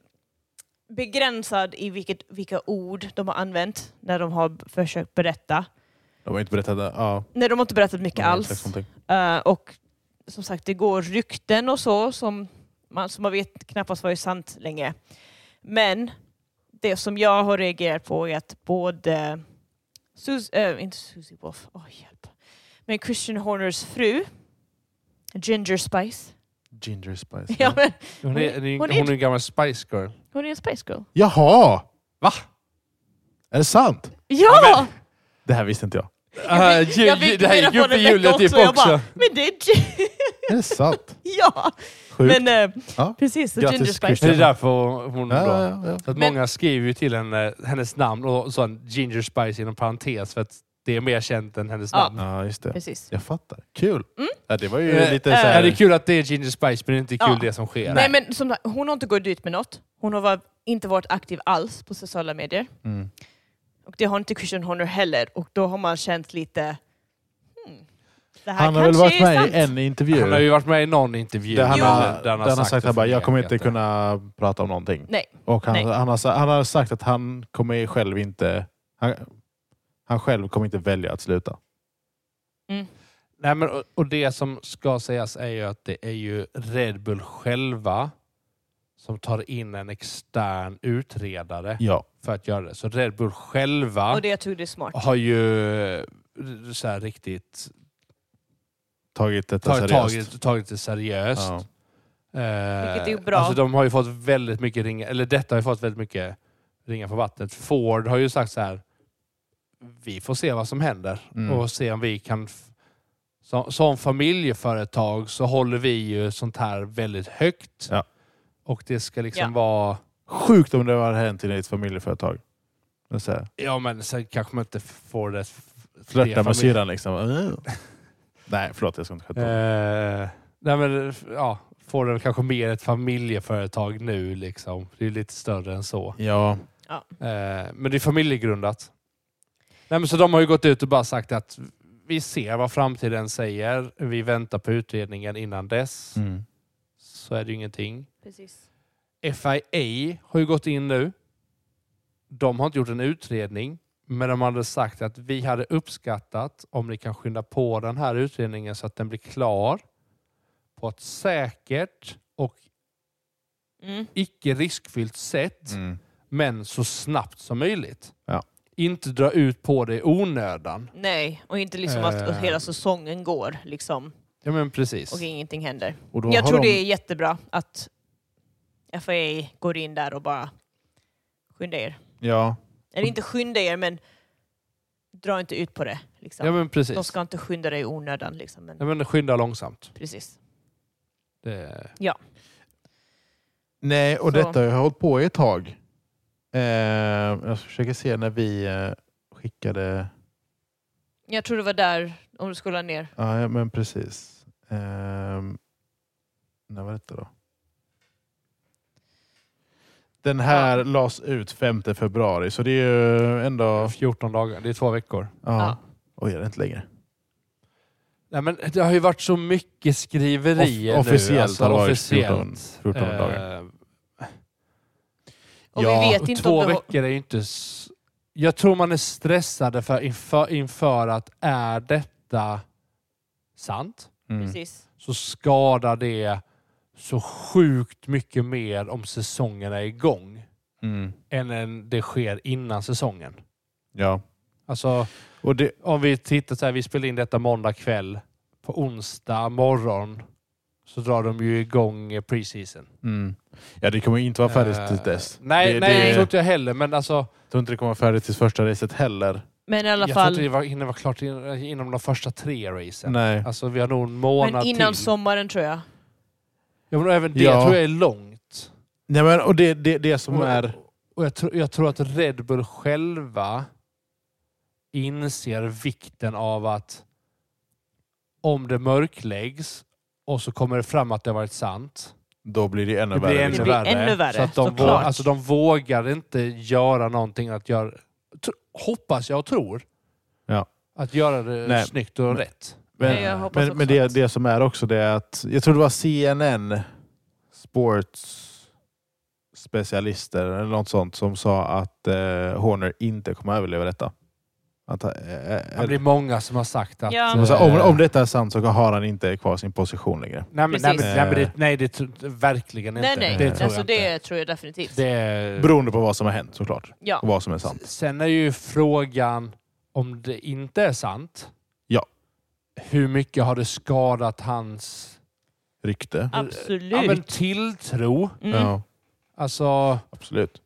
begränsad i vilket, vilka ord de har använt när de har b- försökt berätta. De har inte berättat... Ja, Nej, de har inte berättat de mycket har inte sagt alls. någonting. Eh, och som sagt, det går rykten och så som man, som man vet knappast varit sant länge. Men det som jag har reagerat på är att både Sus eh, inte Susie Wolf, åh hjälp. Men Christian Horners fru, Ginger Spice. Ginger spice. Ja, men, Hon är, hon är, hon hon är- är en gammal Spice Girl. hon är en Spice Girl. Jaha! Va? Är det sant? Ja! Det här visste inte jag. Uh, jul, jag fick det här reda gick på upp i det julen typ också. Jag också. bara, men det är Gi- Är det sant? Ja! Sjukt. Men eh, Ja. precis, så Grattis, Ginger Spice. Christian. Det är därför hon ja, är bra. ja, ja. Så att Men- många skriver ju till henne, hennes namn och så en Ginger Spice inom parentes för att det är mer känt än hennes Ja. namn. ja, just det. Precis. Jag fattar. Kul! Mm. Ja, det var ju Eh, lite eh, så Ja, här... det är kul att det är Ginger Spice men det är inte kul Ja. det som sker. Nej, men som sagt, hon har inte gått ut med något. Hon har var, inte varit aktiv alls på sociala medier. Mm. Och det har inte Christian Horner heller. Och då har man känt lite... Hmm, det här Han har väl kanske varit är med sant. i en intervju. Han har ju varit med i någon intervju. Där han, Jo. har, där han har sagt, det att bara, för jag kommer inte medvetet. kunna prata om någonting. Nej. Och han, Nej. Han, har, sa- han har sagt att han kommer själv inte... Han, han själv kommer inte välja att sluta. Nej, men, och- och det som ska sägas är ju att det är ju Red Bull själva som tar in en extern utredare Ja. för att göra det. Så Red Bull själva Och det jag tror det är smart. har ju eh, så här riktigt Tagit detta tagit, seriöst. tagit, tagit det seriöst. Ja. Eh, Vilket är ju bra. Alltså de har ju fått väldigt mycket ringa, eller detta har ju fått väldigt mycket ringa på vattnet. Ford har ju sagt så här, vi får se vad som händer Mm. och se om vi kan... f- Som, som familjeföretag så håller vi ju sånt här väldigt högt. Ja. Och det ska liksom Ja. vara... Sjukt om det hade hänt i ett familjeföretag. Men så här, Ja men sen kanske man inte får det... f- det Flörta familj- med syrran liksom. Mm. Nej, förlåt. Jag ska inte skämta. Eh, nej men f- ja, Ford är väl kanske mer ett familjeföretag nu liksom. Det är ju lite större än så. Ja. Eh, men det är familjegrundat. Nej, men så de har ju gått ut och bara sagt att vi ser vad framtiden säger. Vi väntar på utredningen innan dess. Mm. Så är det ju ingenting. Precis. FIA har ju gått in nu. De har inte gjort en utredning, men de hade sagt att vi hade uppskattat om ni kan skynda på den här utredningen så att den blir klar på ett säkert och Mm. icke riskfyllt sätt Mm. men så snabbt som möjligt. Ja. Inte dra ut på det i onödan. Nej, och inte liksom att Eh. hela säsongen går liksom, Ja, men precis. och ingenting händer. Och då Jag har tror de- det är jättebra att FAA går in där och bara skynda er. Ja. Eller inte skynda er, men dra inte ut på det. Liksom. Ja, men De precis. ska inte skynda dig i onödan. Liksom, men Ja, men skynda långsamt. precis. Det... Nej, och Så. detta har jag hållit på i ett tag. Eh, jag ska försöka se när vi eh, skickade... Jag tror det var där, om du skulle ner. Ja, ja, men precis. Ehm, när var detta då? Den här Ja. lades ut 5 februari, så det är ju ändå... Ja. 14 dagar, det är två veckor. Ja. Oj, är det inte längre? Nej, men det har ju varit så mycket skriverier Off- officiellt nu. alltså har det varit 14 14 dagar. Eh, Och Ja, vi och vet inte två om det... veckor är ju inte... s- Jag tror man är stressade för inför, inför att är detta sant Mm. Precis. så skadar det så sjukt mycket mer om säsongen är igång. Mm. än en- det sker innan säsongen. Ja. Alltså, Och det, om vi tittar så här, vi spelar in detta måndag kväll. På onsdag morgon så drar de ju igång eh, preseason. Mm. Ja, det kommer inte vara färdigt Eh, till dess. Nej, det, nej det, det jag tror inte jag heller. Men alltså, tror inte det kommer vara färdigt till första racet heller. Men i alla jag tror inte fall, det var, hinner vara klart in, inom de första tre racen. Nej. Alltså vi har nog en men månad innan till. sommaren tror jag. Ja, men även det Ja. tror jag är långt. Nej, men, och det, det, det som Och- är... Och jag, tror- jag tror att Red Bull själva inser vikten av att om det mörkläggs och så kommer det fram att det har varit sant. Då blir det ännu Det blir värre. ännu Det liksom. blir ännu värre, så att de, vå- såklart. alltså, de vågar inte göra någonting att göra... Tr- hoppas jag och tror. Ja. Att göra det Nej. snyggt och rätt. Men- Nej, jag hoppas Men, också men det, att- det som är också det är att, jag tror det var CNN Sports specialister eller något sånt som sa att eh, Horner inte kommer överleva detta. Att, eh, Det blir eh, många som har sagt att... eh, Ja. som sa, om, om detta är sant så har han inte kvar sin position längre. Nej, men, nej, men, Precis. nej, men det, nej, det tror verkligen Nej, inte. nej. Det tror alltså, jag inte. det tror jag definitivt. Det, Beroende på vad som har hänt såklart. Ja. Och vad som är sant. Sen är ju frågan om det inte är sant. Ja. Hur mycket har det skadat hans Rykte. Mm. Absolut. ja, men, tilltro? Mm. Ja, Alltså, absolut.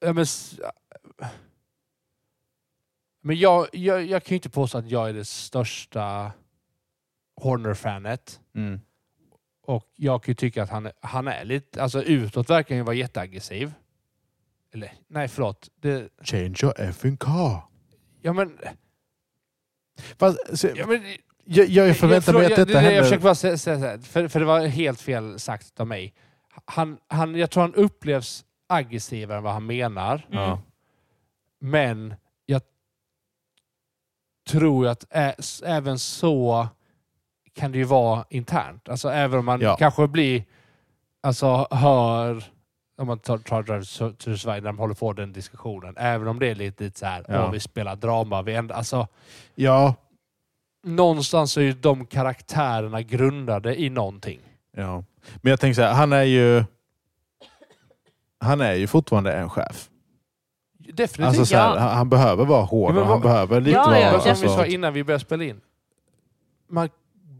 ja, men, s- men jag, jag, jag kan ju inte påstå att jag är det största Horner-fanet. Mm. Och jag kan ju tycka att han, är- han är lite... Alltså utåt verkar han ju vara jätteaggressiv. Eller nej, förlåt. Det, Change your effing car. ja, men, Fast, så, ja, men jag, jag förväntar mig tror- att detta jag, det- det- Jag händer. försöker bara säga, säga, så här, för, för det var helt fel sagt av mig. Han, han, jag tror han upplevs aggressivare än vad han menar, Mm. Ja. men jag tror att ä, s- även så kan det ju vara internt. Alltså även om man Ja. kanske blir, alltså hör, om man tar, tar Drive to Sverige när de håller på den diskussionen, även om det är lite, lite så här, Ja. åh vi spelar drama, vi ändå, alltså ja. någonstans är ju de karaktärerna grundade i någonting. Ja. Men jag tänker så här, han är ju... Han är ju fortfarande en chef. Definitivt. Alltså så här, Ja. han, han behöver vara hård Ja, men och han vad- behöver lite Ja, vara... ja, Men som alltså, vi sa innan vi började spela in. Man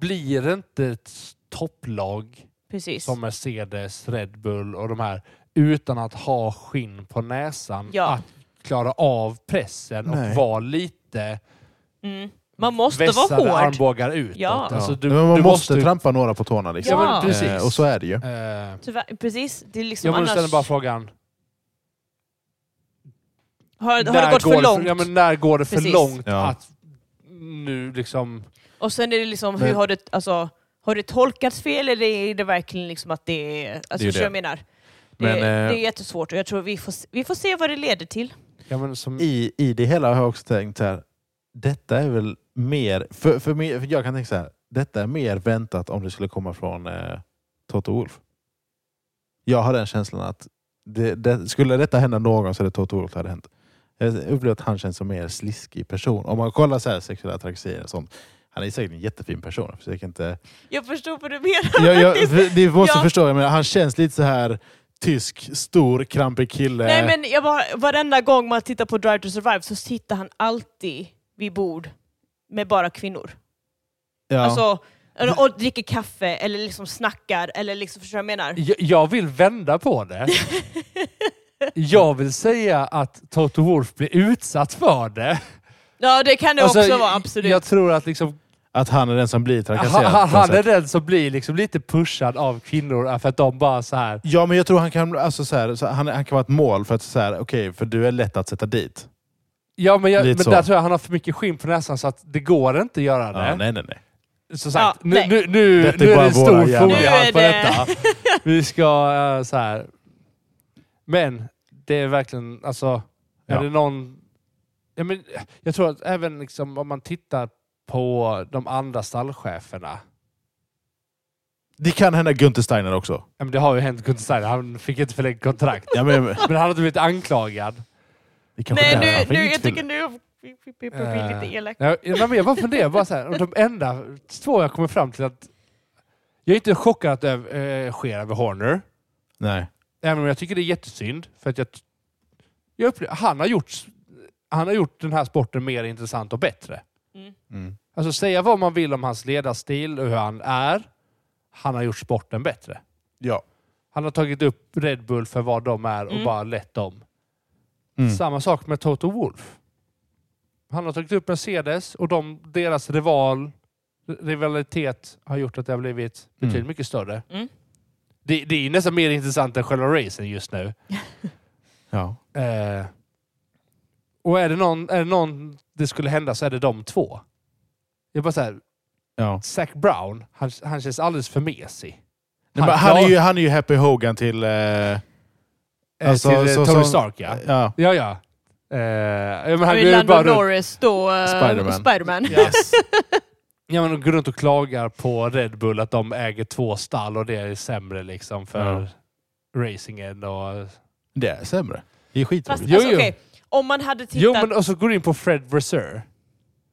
blir inte ett topplag Precis. som Mercedes, Red Bull och de här utan att ha skinn på näsan Ja. att klara av pressen Nej. och vara lite Mm. Man måste vara vässade hård. armbågar utåt. Ja. Alltså, du, men man du måste, måste trampa några på tårna liksom. Ja, men Ja. precis. Eh, och så är det ju. Eh, Tyvärr, precis. Det är liksom jag måste ställa annars... bara frågan. har, har när det gått går för långt? ja, men när går det för Precis. långt Ja. att nu liksom... Och sen är det liksom, hur Men- har det, alltså, har det tolkats fel eller är det verkligen liksom att det är... Alltså, Det är ju förstår det. jag menar? Det, Men, eh, det är jättesvårt och jag tror vi får, se- vi får se vad det leder till. Ja, men Mm. som, I, I det hela har jag också tänkt så här, detta är väl mer... För, för, mig, för jag kan tänka så här, detta är mer väntat om det skulle komma från eh, Toto Wolf. Jag har den känslan att det, det, skulle detta hända någon så är det Toto Wolf det hade hänt. Jag upplever att han känns som mer sliskig person. Om man kollar så här, sexuella trakasserier och sånt. Han är säkert en jättefin person. Så jag kan inte... Jag förstår vad du menar. jag, jag, för- ni måste Ja. förstå, jag menar, han känns lite så här tysk, stor, krampig kille. Nej men jag bara, varenda gång man tittar på Drive to Survive så sitter han alltid vid bord med bara kvinnor. ja. Alltså, och, och dricker kaffe eller liksom snackar eller liksom, förstår du vad jag menar? Jag, jag vill vända på det. Jag vill säga att Toto Wolff blir utsatt för det. Ja det kan det Alltså, också vara, absolut. Jag tror att liksom, att han är den som blir han, trakasserad. han på något han är sätt. den som blir liksom lite pushad av kvinnor äh, för att de bara så här. Ja, men jag tror han kan, alltså, så här, så han, han kan vara ett mål för att så här, okej, för du är lätt att sätta dit. Ja, men, jag, men Lite så. där tror jag han har för mycket skinn på näsan så att det går inte att göra det. Ja, nej, nej, nej. Som sagt, Ja, nu, nej. nu, nu, Detta är nu är det bara en våra stor hjärnor. foliehatt på Nu är det- detta. Vi ska eh, så här. Men det är verkligen, alltså, Ja. är det någon... Ja, men, jag tror att även liksom, om man tittar på de andra stallcheferna. Det kan hända Günther Steiner också. Ja, men det har ju hänt Gunter Steiner, han fick inte förlängt kontrakt. Ja, men, Men han har inte blivit anklagad. det kanske är därför Nej han nu, nu, jag inte tycker vill. nu vi vi- vi blir Eh, lite elak. Ja, men jag bara funderar, bara så här, och de enda två jag kommer fram till att... Jag är inte chockad att det eh, sker över Horner. Nej. Även om jag tycker det är jättesynd. För att jag, t- jag upplever, han, har gjort, han har gjort den här sporten mer intressant och bättre. Mm. Mm. Alltså säga vad man vill om hans ledarstil och hur han är. han har gjort sporten bättre. Ja. Han har tagit upp Red Bull för vad de är och Mm. bara lett dem. Mm. Samma sak med Toto Wolff. Han har tagit upp Mercedes och de, deras rival, rivalitet har gjort att det har blivit betydligt Mm. mycket större. Mm. Det, det är ju nästan mer intressant än själva racen just nu. ja. Eh, och är det, någon, är det någon det skulle hända så är det de två. Jag bara så här, ja. Zac Brown, han, han känns alldeles för mesig. Nej, men han, är ju, han är ju Happy Hogan till... Eh, eh, alltså, till eh, så- Tony så- Stark ja. ja. Ja, ja. Eh, ja, men han Och går ju bara Lando runt, Norris då eh, Spiderman. Spiderman. Yes. ja, men de går runt och klagar på Red Bull att de äger två stall och det är sämre liksom för racingen. Och... det är sämre. Det är Fast skitroligt. Jo, alltså, jo. okej, om man hade tittat... Jo, men och så går du in på Fred Vasseur.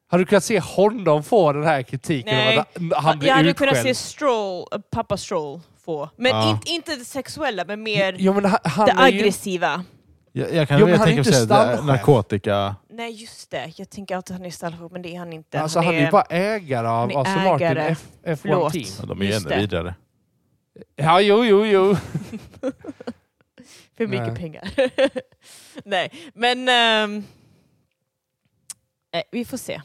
Hade du kunnat se honom få den här kritiken? Nej. Om att han blir jag hade utskälld? kunnat se Stroll, eh, pappa Stroll få. Men Ja. inte, inte det sexuella, men mer Jo, men han, han det är ju... aggressiva. Jag, jag kan Jo, jo, men han är tänka mig inte säga det- stallchef. narkotika... Nej, just det. Jag tänker alltid att han är stallchef, men det är han inte. Alltså, han är ju bara ägare av han är Aston Martin ägare. F, F1 Förlåt. Team. Ja, de är ju Just ännu det. vidare. Ja, jo, jo, jo. För mycket Nej. pengar. Nej, men... ehm, nej, vi får se.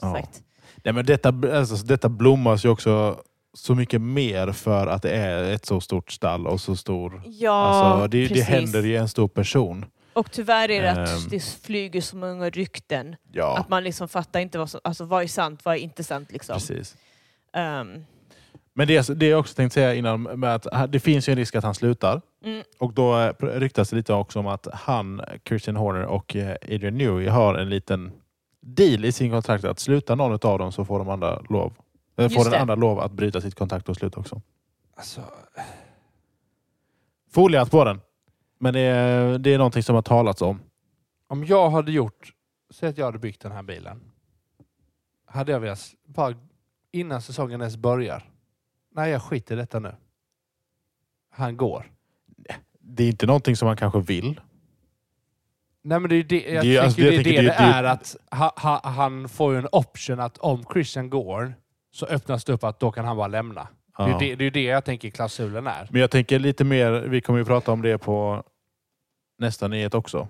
Som Ja. sagt. Nej, men detta, alltså, detta blommas ju också så mycket mer för att det är ett så stort stall och så stor... Ja, alltså, det, det precis. händer ju en stor person. Och tyvärr är det att Ehm. det flyger så många rykten. Ja, Att man liksom fattar inte vad som... Alltså vad är sant, vad är inte sant liksom. precis. Ehm, Men det, alltså- det jag också tänkte säga innan, med att eh, det finns ju en risk att han slutar. mm, Och då eh, ryktas det lite också om att han, Christian Horner och eh, Adrian Newey har en liten deal i sin kontrakt att sluta någon av dem så får de andra lov. eh, Just Får den det. andra lov att bryta sitt kontrakt och sluta också. Alltså, Foliehatt på den. Men det är, det är någonting som har talats om. om jag hade gjort... Säg att jag hade byggt den här bilen. Hade jag velat... s- Bara innan säsongen ens börjar. Nej, jag skiter i detta nu. Han går. Det är inte någonting som man kanske vill. Nej, men det är ju det, jag Det är ju- tycker alltså, det, jag är tänker det, det- det det- är. Att ha, ha, han får ju en option att om Christian går så öppnas det upp att då kan han bara lämna. Det är Ja. ju det, det, är ju det jag tänker klausulen är. Men jag tänker lite mer, vi kommer ju prata om det på nästa nyhet också.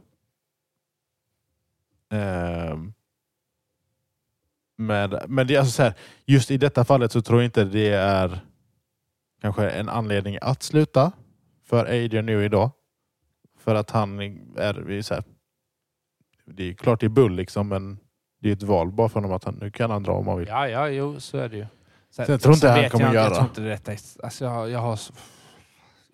Ehm. Med, men det är alltså så här, just i detta fallet så tror jag inte det är kanske en anledning att sluta för Adrian nu idag. För att han är, det är så här, det är klart det är bull liksom men det är ett val bara för honom att han, nu kan han dra om han vill. Ja, ja, jo, så är det ju. Sen, Så jag tror inte han vet kommer jag, göra. Jag tror inte det rätta är... Alltså, jag, jag har... så-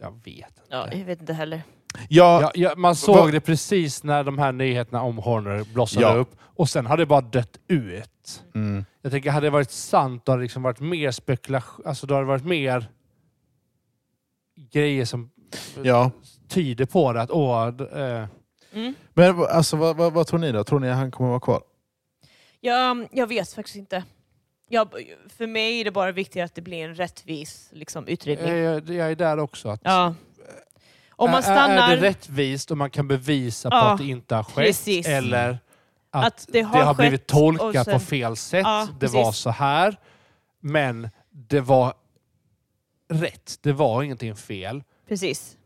Jag vet inte. ja, jag vet inte heller. Ja, Ja, ja, man såg vad- det precis när de här nyheterna om Horner blossade Ja. upp. Och sen hade det bara dött ut. Mm. Jag tänker, hade det varit sant, då hade det liksom varit mer spekulation. Alltså, då hade det varit mer grejer som ja. tyder på det. Att, åh, d- eh, Mm. Men v- alltså, vad, vad, vad tror ni då? Tror ni att han kommer vara kvar? Jag, jag vet faktiskt inte. Jag, för mig är det bara viktigt att det blir en rättvis liksom, utredning. jag, jag, jag är där också. Att, Ja. Om man Är- Är stannar det rättvist och man kan bevisa på Ja, att det inte har skett? precis. Eller att, att det det har, har, blivit skett och tolkat sen- på fel sätt. Ja, det var precis. så här. Men det var rätt. Det var ingenting fel. Precis.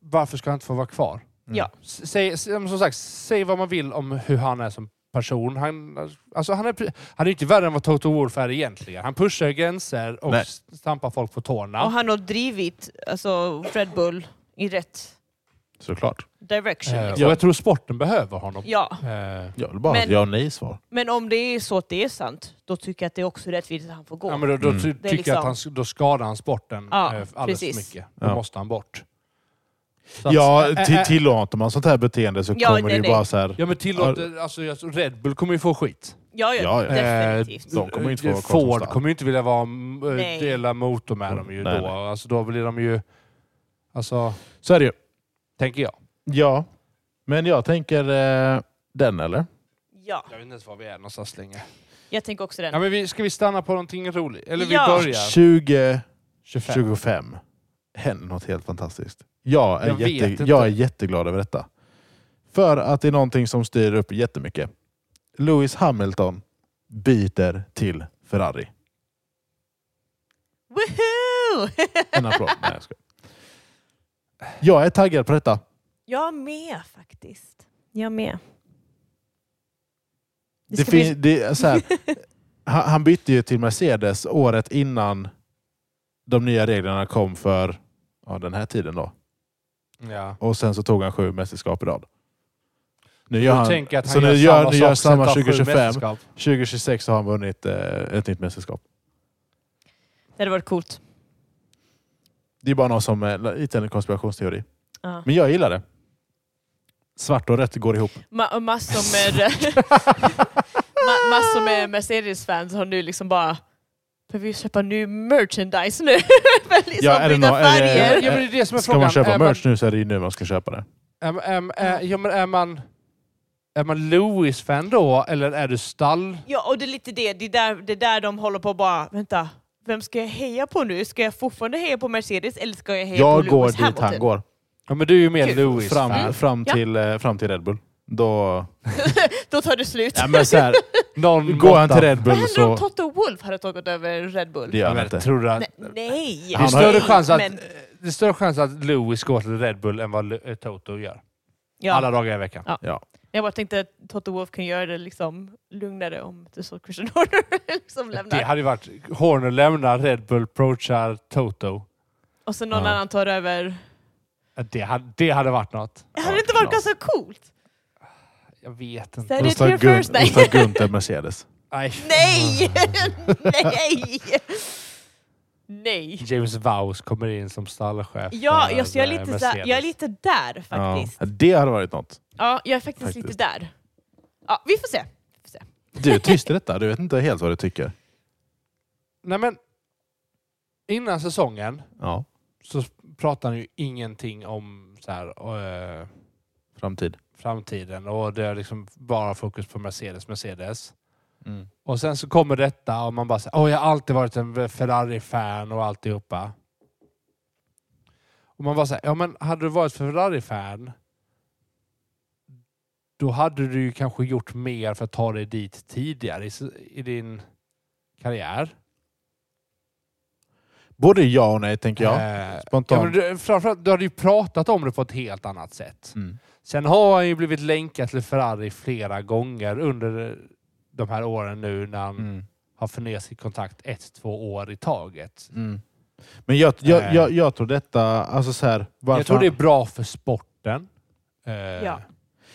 Varför ska han inte få vara kvar? Mm. Ja. S- Säg, s- som sagt, säg vad man vill om hur han är som person. Han, alltså han, är, pre- han är inte värre än vad Toto Wolff är egentligen. Han pushar gränser och Nej. s- stampar folk på tårna. Och han har drivit alltså, Fred Bull i rätt Såklart. direction. Eh, och liksom. jag tror sporten behöver honom. Ja, Eh, Jag vill bara Men- ha ett ja och nej-svar. men om det är så att det är sant, då tycker jag att det är också rättvist att han får gå. Ja, men då, då Mm. ty- Det tycker är jag liksom- att han, s- då skadar han sporten Ja, eh, alldeles för precis. mycket. Då Ja. måste han bort. Så att- Ja, Ä- ä- till, tillåter man sånt här beteende så Alltså, eh, Ja, kommer nej, det ju nej. bara så här... Ja, men tillåter, alltså, jag tror Red Bull kommer ju få skit. Ja, ja, Ja, ja. Eh, definitivt. De kommer ju inte få Eh, vara kvar som Ford stall. kommer ju inte vilja vara, m- eh, Nej. dela motor med dem ju Nej, då. nej. Alltså, då blir de ju... Alltså, Så är det ju. tänker jag. Ja. Men jag tänker eh, den eller? Ja, Jag vet inte ens var vi är någonstans längre. jag tänker också Ja, den. men vi, ska vi stanna på någonting roligt? Eller vi Ja. börjar? 25. 2025. Händer något helt fantastiskt. Jag är, Jag vet inte. jätte, jag är jätteglad över detta. För att det är någonting som styr upp jättemycket. Lewis Hamilton byter till Ferrari. Woohoo! Woohoo! En applåd. Nej, jag skojar. Jag är taggad på detta. Jag med faktiskt. Jag med. Det Det ska bli- fin- det är så här, han, han bytte ju till Mercedes året innan de nya reglerna kom för ja, den här tiden. då. Ja. Och sen så tog han sju mästerskap i rad. Nu Du gör han, tänker att han så gör nu gör, samma nu gör sak som samma tar sju 2025. mästerskap. 2026 har han vunnit eh, ett nytt mästerskap. Det hade varit coolt. Det är bara någon som eh, lite en konspirationsteori. Ja. Men jag gillar det. Svart och rött går ihop. Ma- och massor med, ma- massor med Mercedes-fans har nu liksom bara Behöver vi köpa ny merchandise nu? För att liksom Ja, är det byta nå- är det- färger. Ja, men det är det som är Ska frågan. eh, man köpa är merch nu så är det ju nu man ska köpa det. Man, är, är, är, ja, men är man, är man Lewis-fan då, eller är du stall? Ja, och det är lite det. Det är där, det är där de håller på att bara, vänta, vem ska jag heja på nu? Ska jag fortfarande heja på Mercedes eller ska jag heja Jag på går Lewis dit Hamilton? han går. Ja, men du är ju mer Kul. Lewis-fan. Fram, fram, Ja. till, eh, fram till Red Bull. Då... Då tar det slut. Ja, men så här, Någon går han måtta. till Red Vad Bull händer om så... Toto Wolff hade tagit över Red Bull? Det gör Ja, han men, inte. tror du att, Nej, Nej! Han det, är har- större chans att, Men, det är större chans att Lewis går till Red Bull än vad Le- eh, Toto gör. ja. Alla dagar i veckan. Ja. Ja. Jag bara tänkte att Toto Wolff kan göra det liksom lugnare om det är så Christian Horner liksom Det lämnar. hade ju varit... Horner lämnar, Red Bull approachar Toto. Och sen någon Ja. annan tar över. Ja, Det hade, det hade varit något. Det hade inte varit klart. ganska coolt? Jag vet inte. Så här, det Då är tar your first Gun- day. då tar Gunther Mercedes. Nej. Nej! Nej! Nej! James Vowes kommer in som stallchef. Ja, för, jag, så jag, är eh, lite så här, jag är Mercedes. lite där faktiskt. Ja. Det hade varit något. Ja, jag är faktiskt, Faktiskt. lite där. Ja, vi får se. Du är tyst i detta. Du vet inte helt vad du tycker. Nej, men innan säsongen Ja, så pratade han ju ingenting om så här, eh, framtid. framtiden och det är liksom bara fokus på Mercedes, Mercedes. Och sen så kommer detta och man bara säger åh jag har alltid varit en Ferrari-fan och alltihopa. Och man bara säger ja men hade du varit Ferrari-fan då hade du ju kanske gjort mer för att ta dig dit tidigare i, s- i din karriär. Både ja och nej, tänker jag. Eh, ja, men Spontant. du, framförallt, du hade ju pratat om det på ett helt annat sätt. Mm. Sen har han ju blivit länkad till Ferrari flera gånger under de här åren nu när han Mm. har förnekat kontakt ett, två år i taget. Mm. Men jag, jag, Eh. jag, jag tror detta... Alltså så här, varför Jag tror det är han- bra för sporten. Eh, Ja.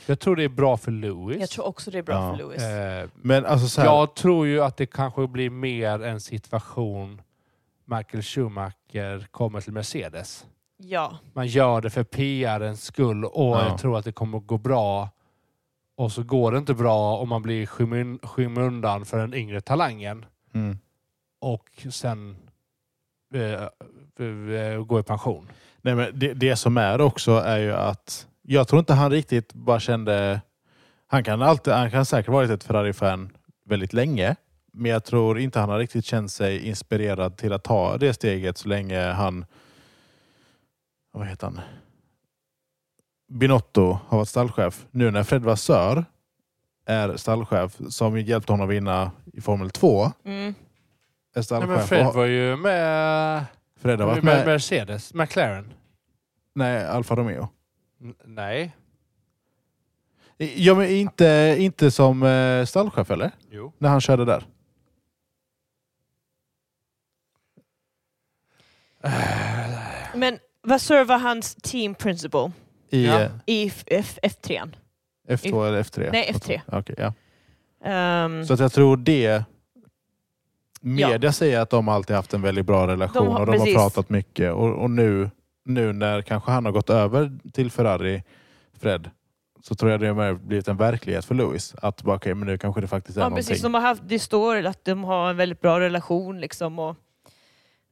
Jag tror det är bra för Lewis. Jag tror också det är bra Ja. för Lewis. Eh, Men alltså så här, jag tror ju att det kanske blir mer en situation Michael Schumacher kommer till Mercedes. Ja. Man gör det för PRens skull och Ja. jag tror att det kommer att gå bra. Och så går det inte bra och man blir i skymun- skymundan för den yngre talangen. mm. och sen eh, eh, gå i pension. Nej, men det, det som är också är ju att jag tror inte han riktigt bara kände... Han kan, alltid, han kan säkert varit ett Ferrari-fan väldigt länge. Men jag tror inte han har riktigt känt sig inspirerad till att ta det steget så länge han... Vad heter han? Binotto har varit stallchef. Nu när Fred Vassör är stallchef som hjälpte honom att vinna i Formel 2. Mm. Är Nej, stallchef. men Fred och- var ju med, Fred har varit med, med, Mercedes, McLaren. Nej, Alfa Romeo. N- Nej. Ja, men inte, inte som eh, stallchef eller? Jo. När han körde där. Eh, Men vad servar hans team principal I Ja. eh, i F- F- F3? F2 eller F3? Nej, F3. Ja, Okej, ja. Ehm, Så att jag tror det... Media säger att de alltid haft en väldigt bra relation De har- och de har precis. pratat mycket. Och, och nu, nu när kanske han har gått över till Ferrari, Fred, så tror jag det har blivit en verklighet för Lewis. Att bara, okej, men nu kanske det faktiskt är ja, någonting. precis. De har haft, det står att de har en väldigt bra relation. Liksom, och,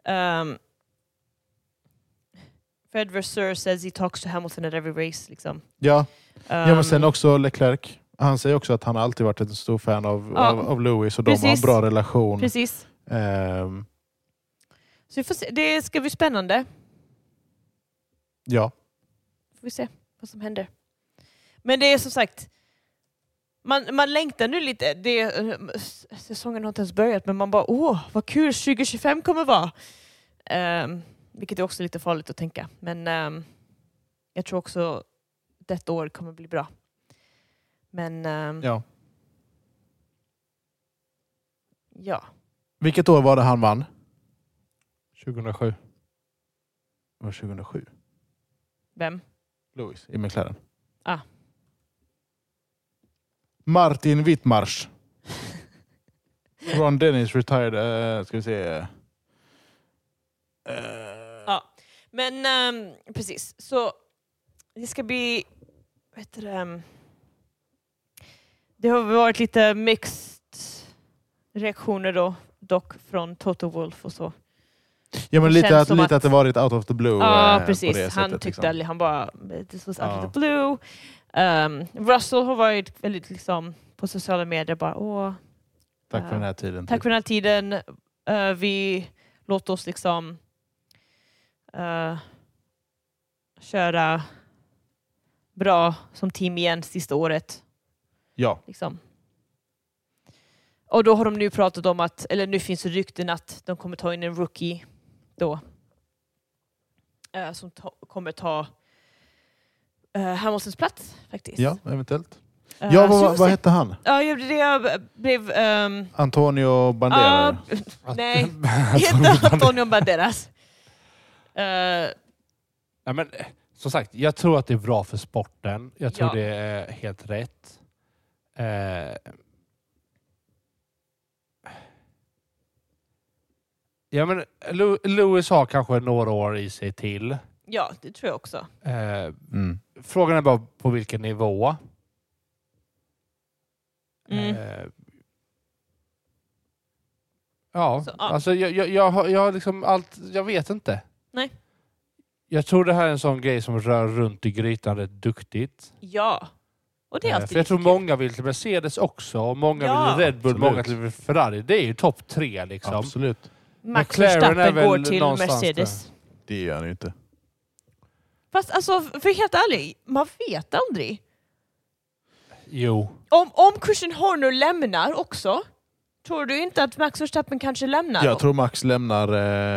ehm, Fred Vasseur says he talks to Hamilton at every race. Liksom. Ja. ja, Ehm, men sen också Leclerc. Han säger också att han alltid varit en stor fan av, Ja. av, av Lewis och de har en Precis. bra relation. Precis. Ehm, Så vi får se. Det ska bli spännande. ja. får vi se vad som händer. Men det är som sagt, man, man längtar nu lite. Det, eh, s- säsongen har inte ens börjat, men man bara åh, vad kul 2025 kommer vara. Ehm, vilket är också lite farligt att tänka. Men ehm, jag tror också detta år kommer bli bra. Men ehm, ja. Ja. Vilket år var det han vann? 2007. Det var 2007. vem? Lewis i McLaren. Ah. Martin Wittmarsch. Ron Dennis retired, eh, ska vi se. Eh, Ja. Men ehm, precis, så det ska bli... Vad heter det? ehm, Det har varit lite mixed reaktioner då, dock från Toto Wolf och så. Oh, ja, men det lite, känns att, som lite att- att det varit out of the blue. eh, Ja, på precis. det han sättet, tyckte liksom. aldrig, han bara, this was out Ja. of the blue. Ehm, Russell har varit väldigt liksom på sociala medier bara, åh, Tack för den här tiden. tack för den här tiden. Eh, vi låter oss liksom eh, köra bra som team igen sista året. Ja. Liksom. Och då har de nu pratat om att, eller nu finns det rykten att de kommer ta in en rookie då. Eh, som ta, kommer ta eh, Hamiltons plats faktiskt. ja, eventuellt. Ja, Eh, så vi vad, får vad se. hette han? Ja, jag blev... Jag blev ehm, Antonio Bandera? ah, nej, inte Antonio Banderas. Eh, Ja, men, eh, som sagt, jag tror att det är bra för sporten. Jag tror Ja. det är helt rätt. Eh, ja, men, Lu- Lewis har kanske några år i sig till. ja, det tror jag också. Eh, Mm. frågan är bara på vilken nivå. Mm. Eh, ja, Så, ja. alltså jag, jag, jag, har- jag har liksom allt, jag vet inte. Nej. Jag tror det här är en sån grej som rör runt i grytan rätt duktigt. Ja. Och det är Eh, alltid För jag tror lite kul. många vill till Mercedes också, och många Ja. vill Red Bull, Absolut. många till Ferrari. Det är ju topp tre liksom. Absolut. Max McLaren är Verstappen väl går till någonstans Mercedes. Det gör han ju inte. Fast alltså, för helt ärlig, man vet aldrig. Jo. Om, om Christian Horner lämnar också, tror du inte att Max Verstappen kanske lämnar? Jag då? tror Max lämnar...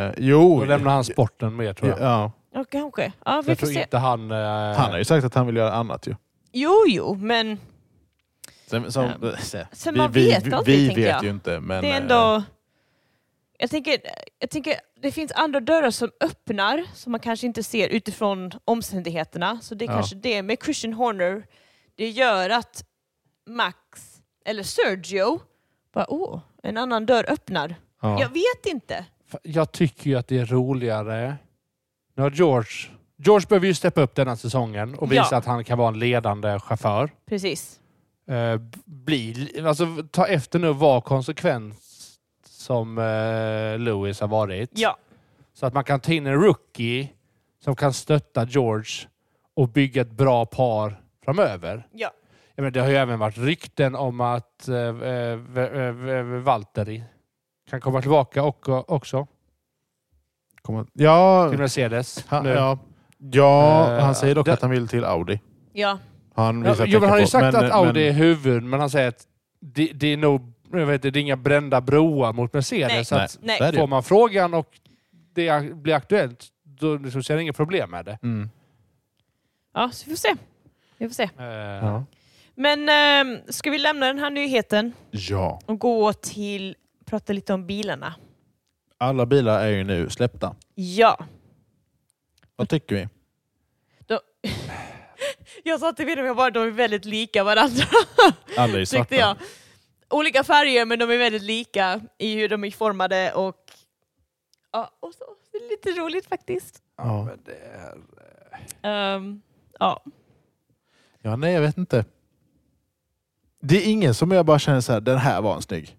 Eh, jo. Då lämnar han sporten med tror jag. Ja. Ja, kanske. Ja, vi Jag får tror se. inte han... eh, Han har ju sagt att han vill göra annat ju. Jo, jo, men Sen, som, Ja. se, Sen vi, man vi, vet vi, aldrig, vi tänker vet jag. ju inte. Men, eh, det är ändå... Jag tänker, jag tänker, det finns andra dörrar som öppnar som man kanske inte ser utifrån omständigheterna. Så det är Ja. kanske det med Christian Horner. Det gör att Max, eller Sergio, bara åh, en annan dörr öppnar. eh, ja. Jag vet inte. Fa- Jag tycker ju att det är roligare. Nu har George... George behöver ju steppa upp denna säsongen och visa Ja. att han kan vara en ledande chaufför. Precis. Eh, bli, alltså, ta efter nu vad konsekvens som eh, Lewis har varit. Ja. Så att man kan ta in en rookie som kan stötta George och bygga ett bra par framöver. Ja. Jag menar, det har ju även varit rykten om att eh, eh, v- v- v- Valtteri kan komma tillbaka och, eh, också Kommer- ja, till Mercedes. han, nu. ja, ja Eh, han säger dock det- att han vill till Audi. Ja. Han Ja, visar jo, men tecken han har ju på- sagt men- att Audi är men- huvud, men han säger att det, det är nog jag vet, inte, det är inga brända broar mot Mercedes. Nej. så att Nej. så är det ju. Får man frågan och det ak- blir aktuellt, då liksom ser jag inga problem med det. Mm. Ja, så vi får se. Vi får se. Eh, Ja. Men ehm, ska vi lämna den här nyheten ja, och gå till prata lite om bilarna? alla bilar är ju nu släppta. Ja. Vad tycker vi? Jag sa till Wilhelm, jag bara, de är väldigt lika varandra Alla är ju tyckte svarta. jag. Olika färger men de är väldigt lika i hur de är formade och, ja, och så, det är lite roligt faktiskt. Ja. men det är- Ehm, ja. ja, nej jag vet inte. Det är ingen som jag bara känner så här, den här var en snygg.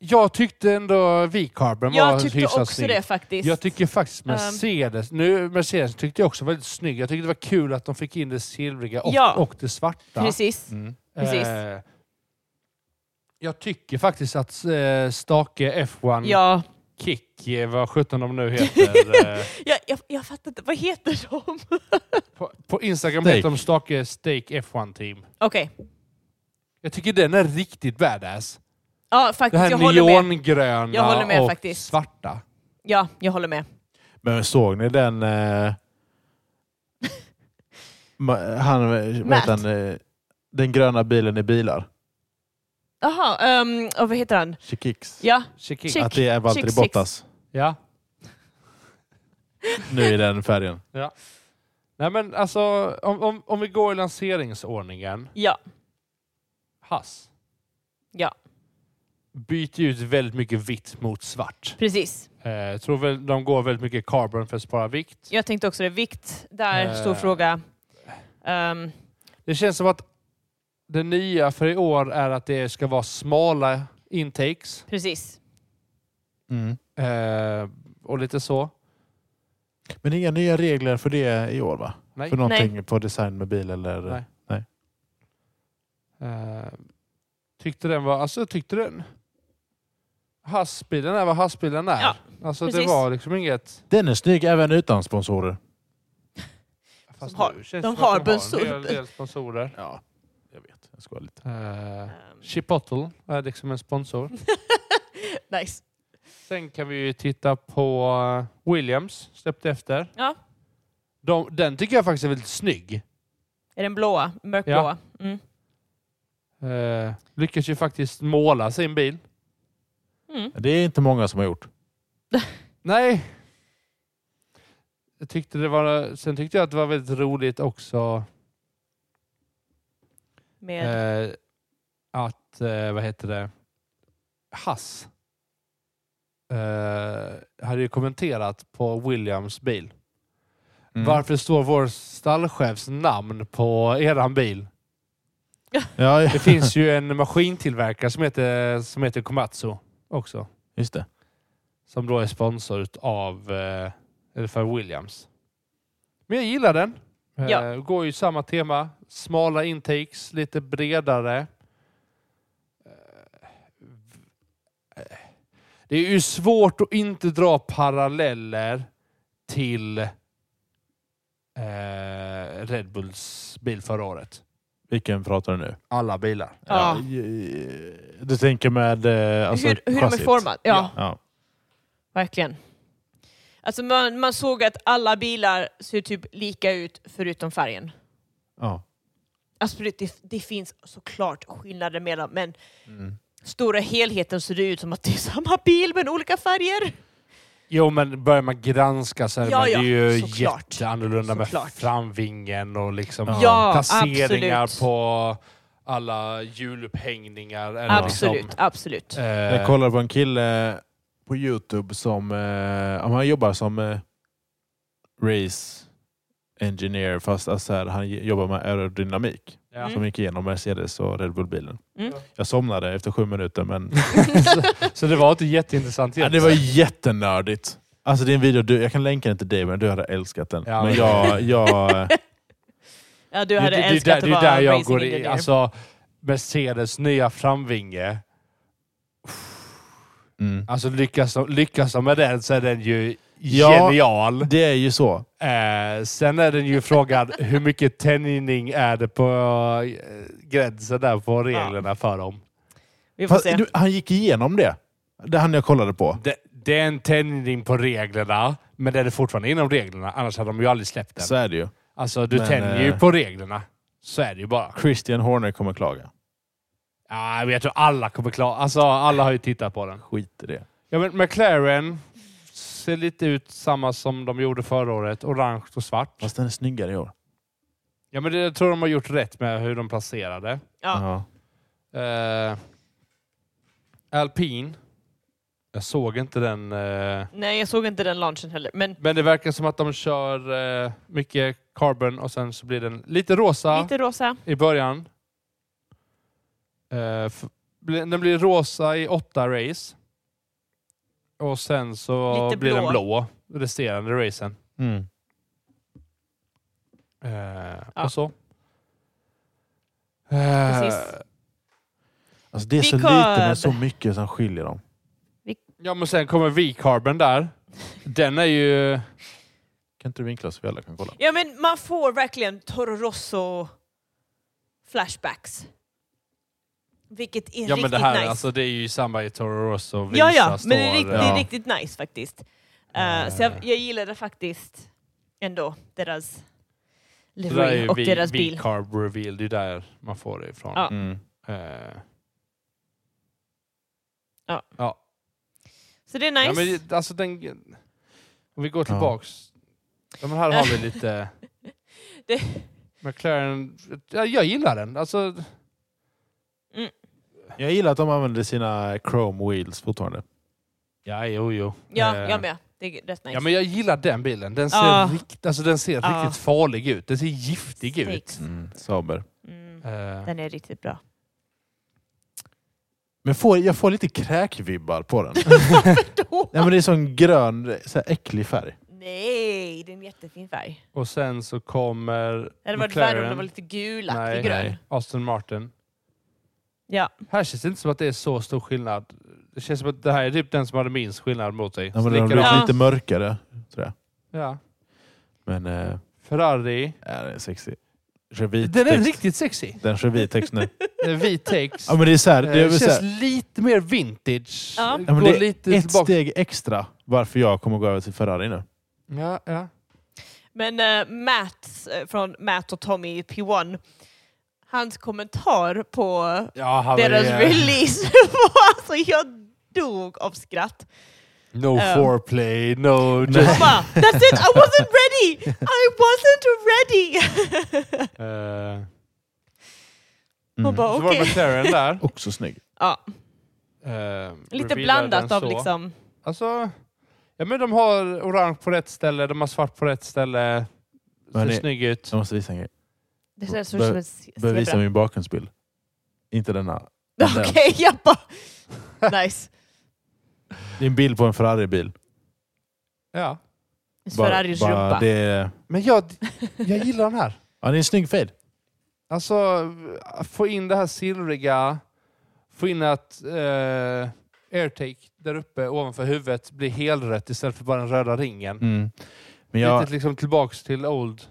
Jag tyckte ändå V-Carbon var Jag tyckte hyfsat också snygg. det faktiskt. Ehm. Jag tycker faktiskt Mercedes, nu Mercedes tyckte jag också var väldigt snygg. Jag tyckte det var kul att de fick in det silvriga och, Ja. och det svarta. Precis. Precis. Eh, jag tycker faktiskt att eh, Stake F1 Ja. Kick, eh, vad sjutton de nu heter. eh, Jag, jag, jag fattar inte, vad heter de? på, på Instagram Steak. heter de Stake Stake F1 Team. Okej. Jag tycker den är riktigt badass. Ja, Det faktiskt. här Jag håller med. neongröna Jag håller med och faktiskt. svarta. Ja, jag håller med. Men såg ni den... Eh, ma- han, vad Matt. heter han, eh, den gröna bilen i bilar? Jaha, um, och vad heter han? Chiquix. Ja, Chiquin. Chick. Att det är Valtteri Chick Six. Bottas Ja. nu i den färgen. Nej men alltså, om, om, om vi går i lanseringsordningen. ja, Hass. Ja. Byter ut väldigt mycket vitt mot svart. precis. Eh, jag tror väl de går väldigt mycket carbon för att spara vikt. Jag tänkte också det. Vikt, där, Eh. stor fråga. Ehm, Det känns som att det nya för i år är att det ska vara smala intakes precis. Mm. eh, och lite så. Men inga nya regler för det i år va? Nej. För någonting på design med bil eller... Nej. Eh, tyckte den var, alltså jag tyckte den... Hassbilen är vad hassbilen är. Ja, alltså det precis. var liksom inget... Den är snygg även utan sponsorer. Fast har- nu känns de det som har att sponsor- en del, del sponsorer. Ja, jag vet. Jag skojar lite. Eh, Ehm, Chipotle är liksom en sponsor. nice. Sen kan vi ju titta på eh, Williams, släppte efter. Ja. De, den tycker jag faktiskt är väldigt snygg. Är den blåa? Mörkblåa? Mm. Eh, lyckas ju faktiskt måla sin bil. Mm. Det är inte många som har gjort. Nej! Jag tyckte det var, sen tyckte jag att det var väldigt roligt också Med, eh, att, eh, vad heter det, Hass eh, hade ju kommenterat på Williams bil. Mm. Varför står vår stallchefs namn på eran bil? Ja, Det finns ju en maskintillverkare som heter, som heter Komatsu också. just det. Som då är sponsor av eh, eller för Williams. Men jag gillar den. Ja. Eh, går ju samma tema. Smala intakes, lite bredare. Eh, eh, Det är ju svårt att inte dra paralleller till eh, Red Bulls bil förra året. Vilken pratar du nu? Alla bilar. Ja. Du tänker med... eh, Alltså, hur, hur de är chassit. formade. Ja, Ja. Ja. verkligen. Alltså man, man såg att alla bilar ser typ lika ut förutom färgen. ja. Absolut, det, det finns såklart skillnader mellan, men Mm. stora helheten ser det ut som att det är samma bil men olika färger. Jo, men börjar man granska så är Ja, man, ja, det är ju såklart. jätteannorlunda med Såklart. framvingen och liksom Ja, Ja, placeringar absolut. på alla hjulupphängningar. Eller Absolut, absolut. Liksom, Jag eh, kollade på en kille på Youtube som... eh, ja, men han jobbar som eh, race engineer fast alltså, här, han jobbar med aerodynamik. ja. Mm. Som gick igenom Mercedes och Red Bull-bilen. Mm. Jag somnade efter sju minuter men Så det var inte jätteintressant Ja, det var jättenördigt. Alltså det är en video, du, jag kan länka den till dig, men du hade älskat den. Ja, men men- jag, jag, Ja, du hade det, det, älskat det, att det är vara där jag racing går i. engineer. Alltså, Mercedes nya framvinge. mm. Alltså lyckas de, lyckas de med den så är den ju Ja. genial. Det är ju så. Eh, sen är den ju frågan hur mycket tänjning är det på eh, gränsen där på reglerna för dem. Vi får Fast, se. du, han gick igenom det. Det han jag kollade på. Det, det är en tänjning på reglerna, men det är det fortfarande inom reglerna. Annars hade de ju aldrig släppt den. Så är det ju. alltså, du men, tänjer ju eh, på reglerna. Så är det ju bara. Christian Horner kommer klaga. Ja, men jag tror alla kommer klara... Alltså, alla har ju tittat på den. Skit i det. Ja, men McLaren ser lite ut samma som de gjorde förra året. Orange och svart. Fast den är snyggare i år. Ja, men det, jag tror de har gjort rätt med hur de placerade. Ja. Eh, Alpin. Jag såg inte den... eh, Nej, jag såg inte den launchen heller. Men men det verkar som att de kör eh, mycket carbon och sen så blir den lite rosa lite rosa. i början. Eh, f- bli- den blir rosa i åtta race. Och sen så Lite blir blå. den blå resterande racen. Mm. Eh, Ja. Och så. Eh, Precis. Alltså, det är så Because- lite men så mycket som skiljer dem. Ja, men sen kommer V-carbon där. Den är ju... Kan inte du vinkla så vi alla kan kolla? Ja, men man får verkligen Toro Rosso flashbacks. Vilket är ja, riktigt men det här, nice. alltså, det är ju i samband med Toro Rosso. ja, ja, visas men det är, då, riktigt, eh, det är ja. riktigt nice faktiskt. Eh, så jag, jag gillade faktiskt ändå deras livery och deras bil. V-carb reveal, det är där man får det ifrån. Ja. Mm. Eh, Så det är nice. Ja, men det- alltså den, om vi går tillbaks. Ja. men här har vi lite... Det- McLaren, ja, jag gillar den. Alltså, Jag gillar att de använder sina chrome wheels fortfarande. ja, jo, jo. ja, Eh, jag med. Det är rätt nice. Ja, men jag gillar den bilen. Den ser, Ja. rikt, alltså, den ser Ja. riktigt farlig ut. Den ser giftig ut. Stakes. Sauber. Mm. Eh, Den är riktigt bra. Men får, jag får lite kräkvibbar på den. Då. Nej, men det är sån grön, så här äcklig färg. Nej, det är en jättefin färg. och sen så kommer Det hade varit värre om det var lite gulaktig Nej, grön. nej. Aston Martin. Ja. Här känns det inte som att det är så stor skillnad. Det känns som att det här är typ den som hade minst skillnad mot sig. Ja, men den har blivit Ja. lite mörkare, tror jag. ja. Men eh, Ferrari. ja, den är sexig. Kör vit Den är text. riktigt sexy. Den kör vit text nu. Eh, Vit text. Ja, men det är så här, Eh, det är väl så känns här, lite mer vintage. Ja. Ja, men Går det är lite ett tillbaka. steg extra varför jag kommer gå över till Ferrari nu. Ja, ja. Men eh, Matt eh, från Matt och Tommy i P1, hans kommentar på ja han deras är, eh, release var alltså, jag dog av skratt. No Ja. foreplay, no... Nej. Han bara, That's it, I wasn't ready! I wasn't ready! Eh, Man bara, Så var det okej. McLaren där. Mm. Också snygg. Ja, Eh, lite revealar blandat den av så. liksom... Alltså, ja, men de har orange på rätt ställe, de har svart på rätt ställe. Ser Men det- snygg ut. Jag måste visa en grej. Det känns som Bör- en Behöver visa zebra. min bakgrundsbild. Inte denna. Okej, jag bara... Nice. Det är en bild på en Ferrari-bil. Ja. Ferraris rumpa. det, är- Men jag, jag gillar den här. ja, det är en snygg fade. Alltså, få in det här silvriga, få in att eh, airtake där uppe ovanför huvudet blir helrätt istället för bara den röda ringen. Mm. Men jag, Lite liksom tillbaks till old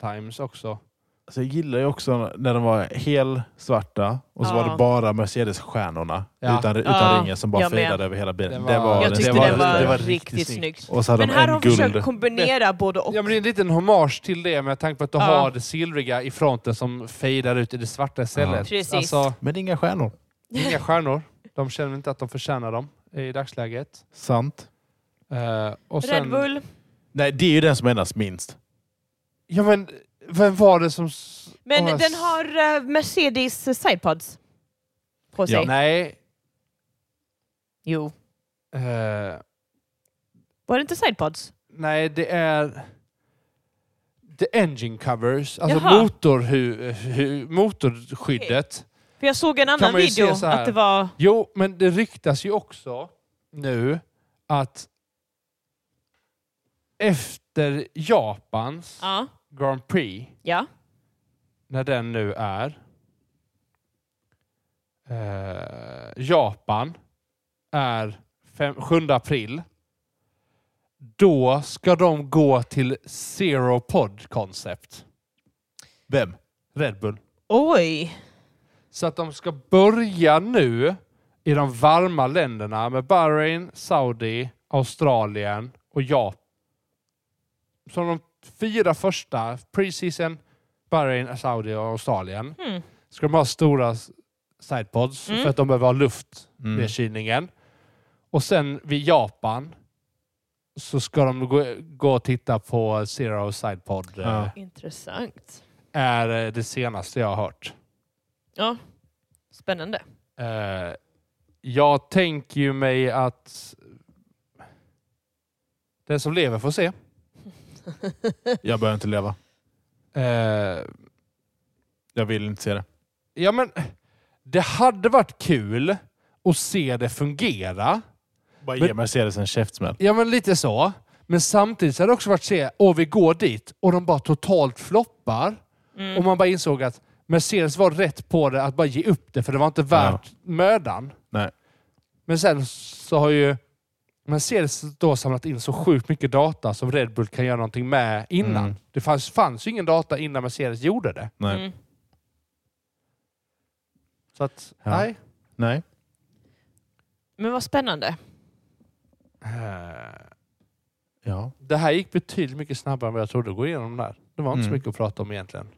times också. alltså, jag gillar ju också när de var helt svarta och så Ja. var det bara Mercedes-stjärnorna Ja. utan, utan Ja, ringen som bara jag med. fejdade över hela bilen. Den Det var- var, Jag det tyckte var, det var, det var riktigt, riktigt snyggt. Och så hade Men de här har en de försökt guld. kombinera både och. Ja, men det är en liten hommage till det med tanke på att du Ja. har det silvriga i fronten som fejdar ut i det svarta istället. Ja. Precis. Alltså, Men inga stjärnor. inga stjärnor. De känner inte att de förtjänar dem i dagsläget. Sant. Eh, och sen, Red Bull. Nej, det är ju den som ändras minst. Ja, men vem var det som... s- Men om jag s- den har eh, Mercedes eh, sidepods på sig. Ja. Nej. Jo. eh, Var det inte sidepods? nej, det är... The engine covers, alltså Jaha. motorhu, hu, motorskyddet. För jag såg en Kan annan man ju video se så här. att det var... Jo, men det ryktas ju också nu att efter Japans Ja. Grand Prix ja. när den nu är. Eh, Japan är fem, 7 april. Då ska de gå till Zero Pod Concept, Vem? Red Bull. Oj. Så att de ska börja nu i de varma länderna med Bahrain, Saudi, Australien och Japan. Som de fyra första, pre-season, Bahrain, Saudi och Australien. Hmm. ska de ha stora s- sidepods Mm. för att de behöver ha luft Mm. vid kylningen. Och sen vid Japan så ska de gå, gå och titta på Zero Sidepod. Ja. eh, Intressant. Är eh, det senaste jag har hört. Ja. Spännande. Eh, Jag tänker ju mig att den som lever får se. Jag behöver inte leva. Eh, Jag vill inte se det. Ja, men det hade varit kul att se det fungera. Bara Men- ge Mercedes en käftsmäll. Ja, men lite så. Men samtidigt så hade det också varit se, åh vi går dit och de bara totalt floppar. Oh, Mm. Och man bara insåg att Mercedes var rätt på det att bara ge upp det för det var inte värt mödan. Nej. Men sen så har ju Mercedes då samlat in så sjukt mycket data som Red Bull kan göra någonting med innan. Mm. Det fanns, fanns ju ingen data innan Mercedes gjorde det. Nej. Mm. Så att, Ja. nej. Nej. Men vad spännande. Eh, Det här gick betydligt mycket snabbare än vad jag trodde att gå igenom där. Det var inte så Mm. mycket att prata om egentligen.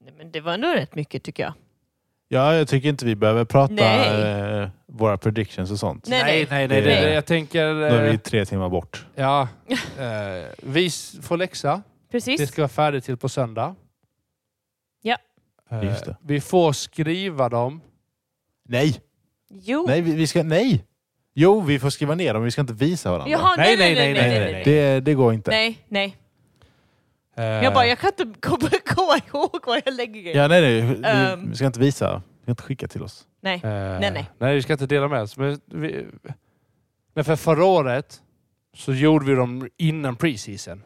Nej, Men det var ändå rätt mycket tycker jag. Ja, jag tycker inte vi behöver prata Nej. eh, våra predictions och sånt. Nej, nej. nej, nej, Nej. det- Jag tänker... Då är eh, vi tre timmar bort. Ja, eh, vi s- får läxa. Precis. Det ska vara färdigt till på söndag. Ja. Eh, Just det. Vi får skriva dem. Nej! Jo. Nej, vi, vi ska... Nej! Jo, vi får skriva ner dem. Vi ska inte visa varandra. Jaha, nej, nej, nej, nej, nej, nej. Det, det går inte. Nej, nej. Eh, Jag bara, jag kan inte komma, komma ihåg var jag lägger grejer. Ja, nej, nej. Vi, Ehm. vi ska inte visa. Vi ska inte skicka till oss. Nej. eh, nej, nej. Nej, vi ska inte dela med oss. Men vi, nej, för förra året så gjorde vi dem innan preseason.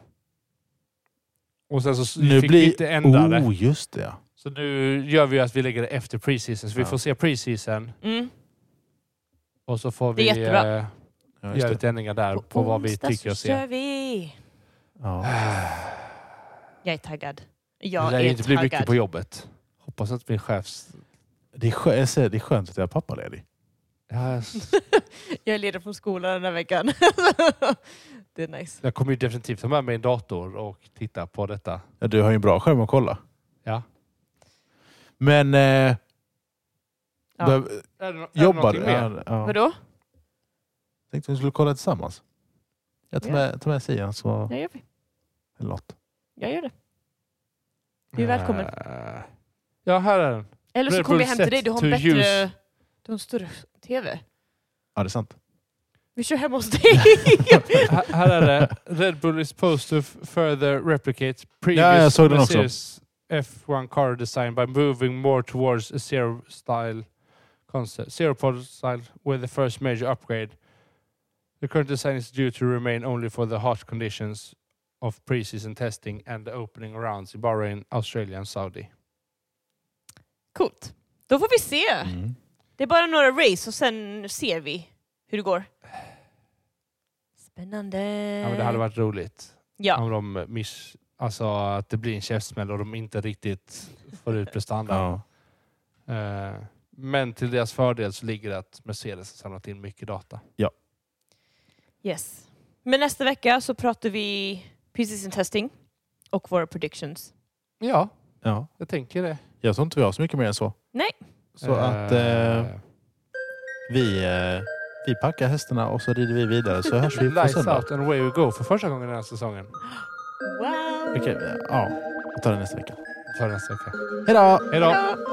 Och sen så s- Nu fick blir- vi inte ändra det. Oh, just det. ja. Så nu gör vi att vi lägger det efter preseason. Så vi Ja. får se preseason Mm. och så får Det vi är jättebra. eh, Ja, just göra det. lite ändringar där på, vad vi onsdag tycker och så kör ser. Eh. vi. Ja. Jag är taggad. Det Jag lär är ju inte bli taggad. mycket på jobbet. Hoppas att min chef... Det, är skönt, jag säger, det är skönt att jag är pappaledig. Ja, s- Jag är ledig från skolan den här veckan. det är nice. Jag kommer ju definitivt ta med mig en dator och titta på detta. Ja, du har ju en bra skärm att kolla. Ja. Men... Eh, Ja. behöv- Är det no- är det jobbar någonting du? mer? Ja, ja. Vadå? tänkte vi skulle kolla tillsammans. Jag tar Ja. med, tar med Sian så... Jag gör det. Eller något. Jag gör det. Du är välkommen. Eh, Ja, här är den. Eller så Red kommer Bull jag hem till dig. Du har en set to bättre... use. Du har en större TV. Ja, det är sant. Vi kör hem hos dig. Här- här är det. Red Bull is supposed to f- further replicate previous Ja, jag såg den också. Mercedes F1 car design by moving more towards a zero style concept. Zero pod style with the first major upgrade. The current design is due to remain only for the harsh conditions of pre-season testing and the opening rounds in Bahrain, Australia and Saudi. Coolt. Då får vi se. Mm. Det är bara några race och sen ser vi hur det går. Spännande. Ja, men det Eh. hade varit roligt Ja. om de miss... Alltså att det blir en käftsmäll och de inte riktigt får ut prestanda. Ja. Eh, Men till deras fördel så ligger det att Mercedes har samlat in mycket data. Yes. Men nästa vecka så pratar vi preseason testing och våra predictions. Ja, ja. jag tänker det. Jag tror inte vi har så mycket mer än så. Nej. Så att eh, vi, eh, vi packar hästarna och så rider vi vidare så hörs vi på Lights söndag. out and away we go för första gången den här säsongen. Wow! Okej, ja. Vi tar det nästa vecka. För nästa vecka. Hej då! Hej då! Hejdå.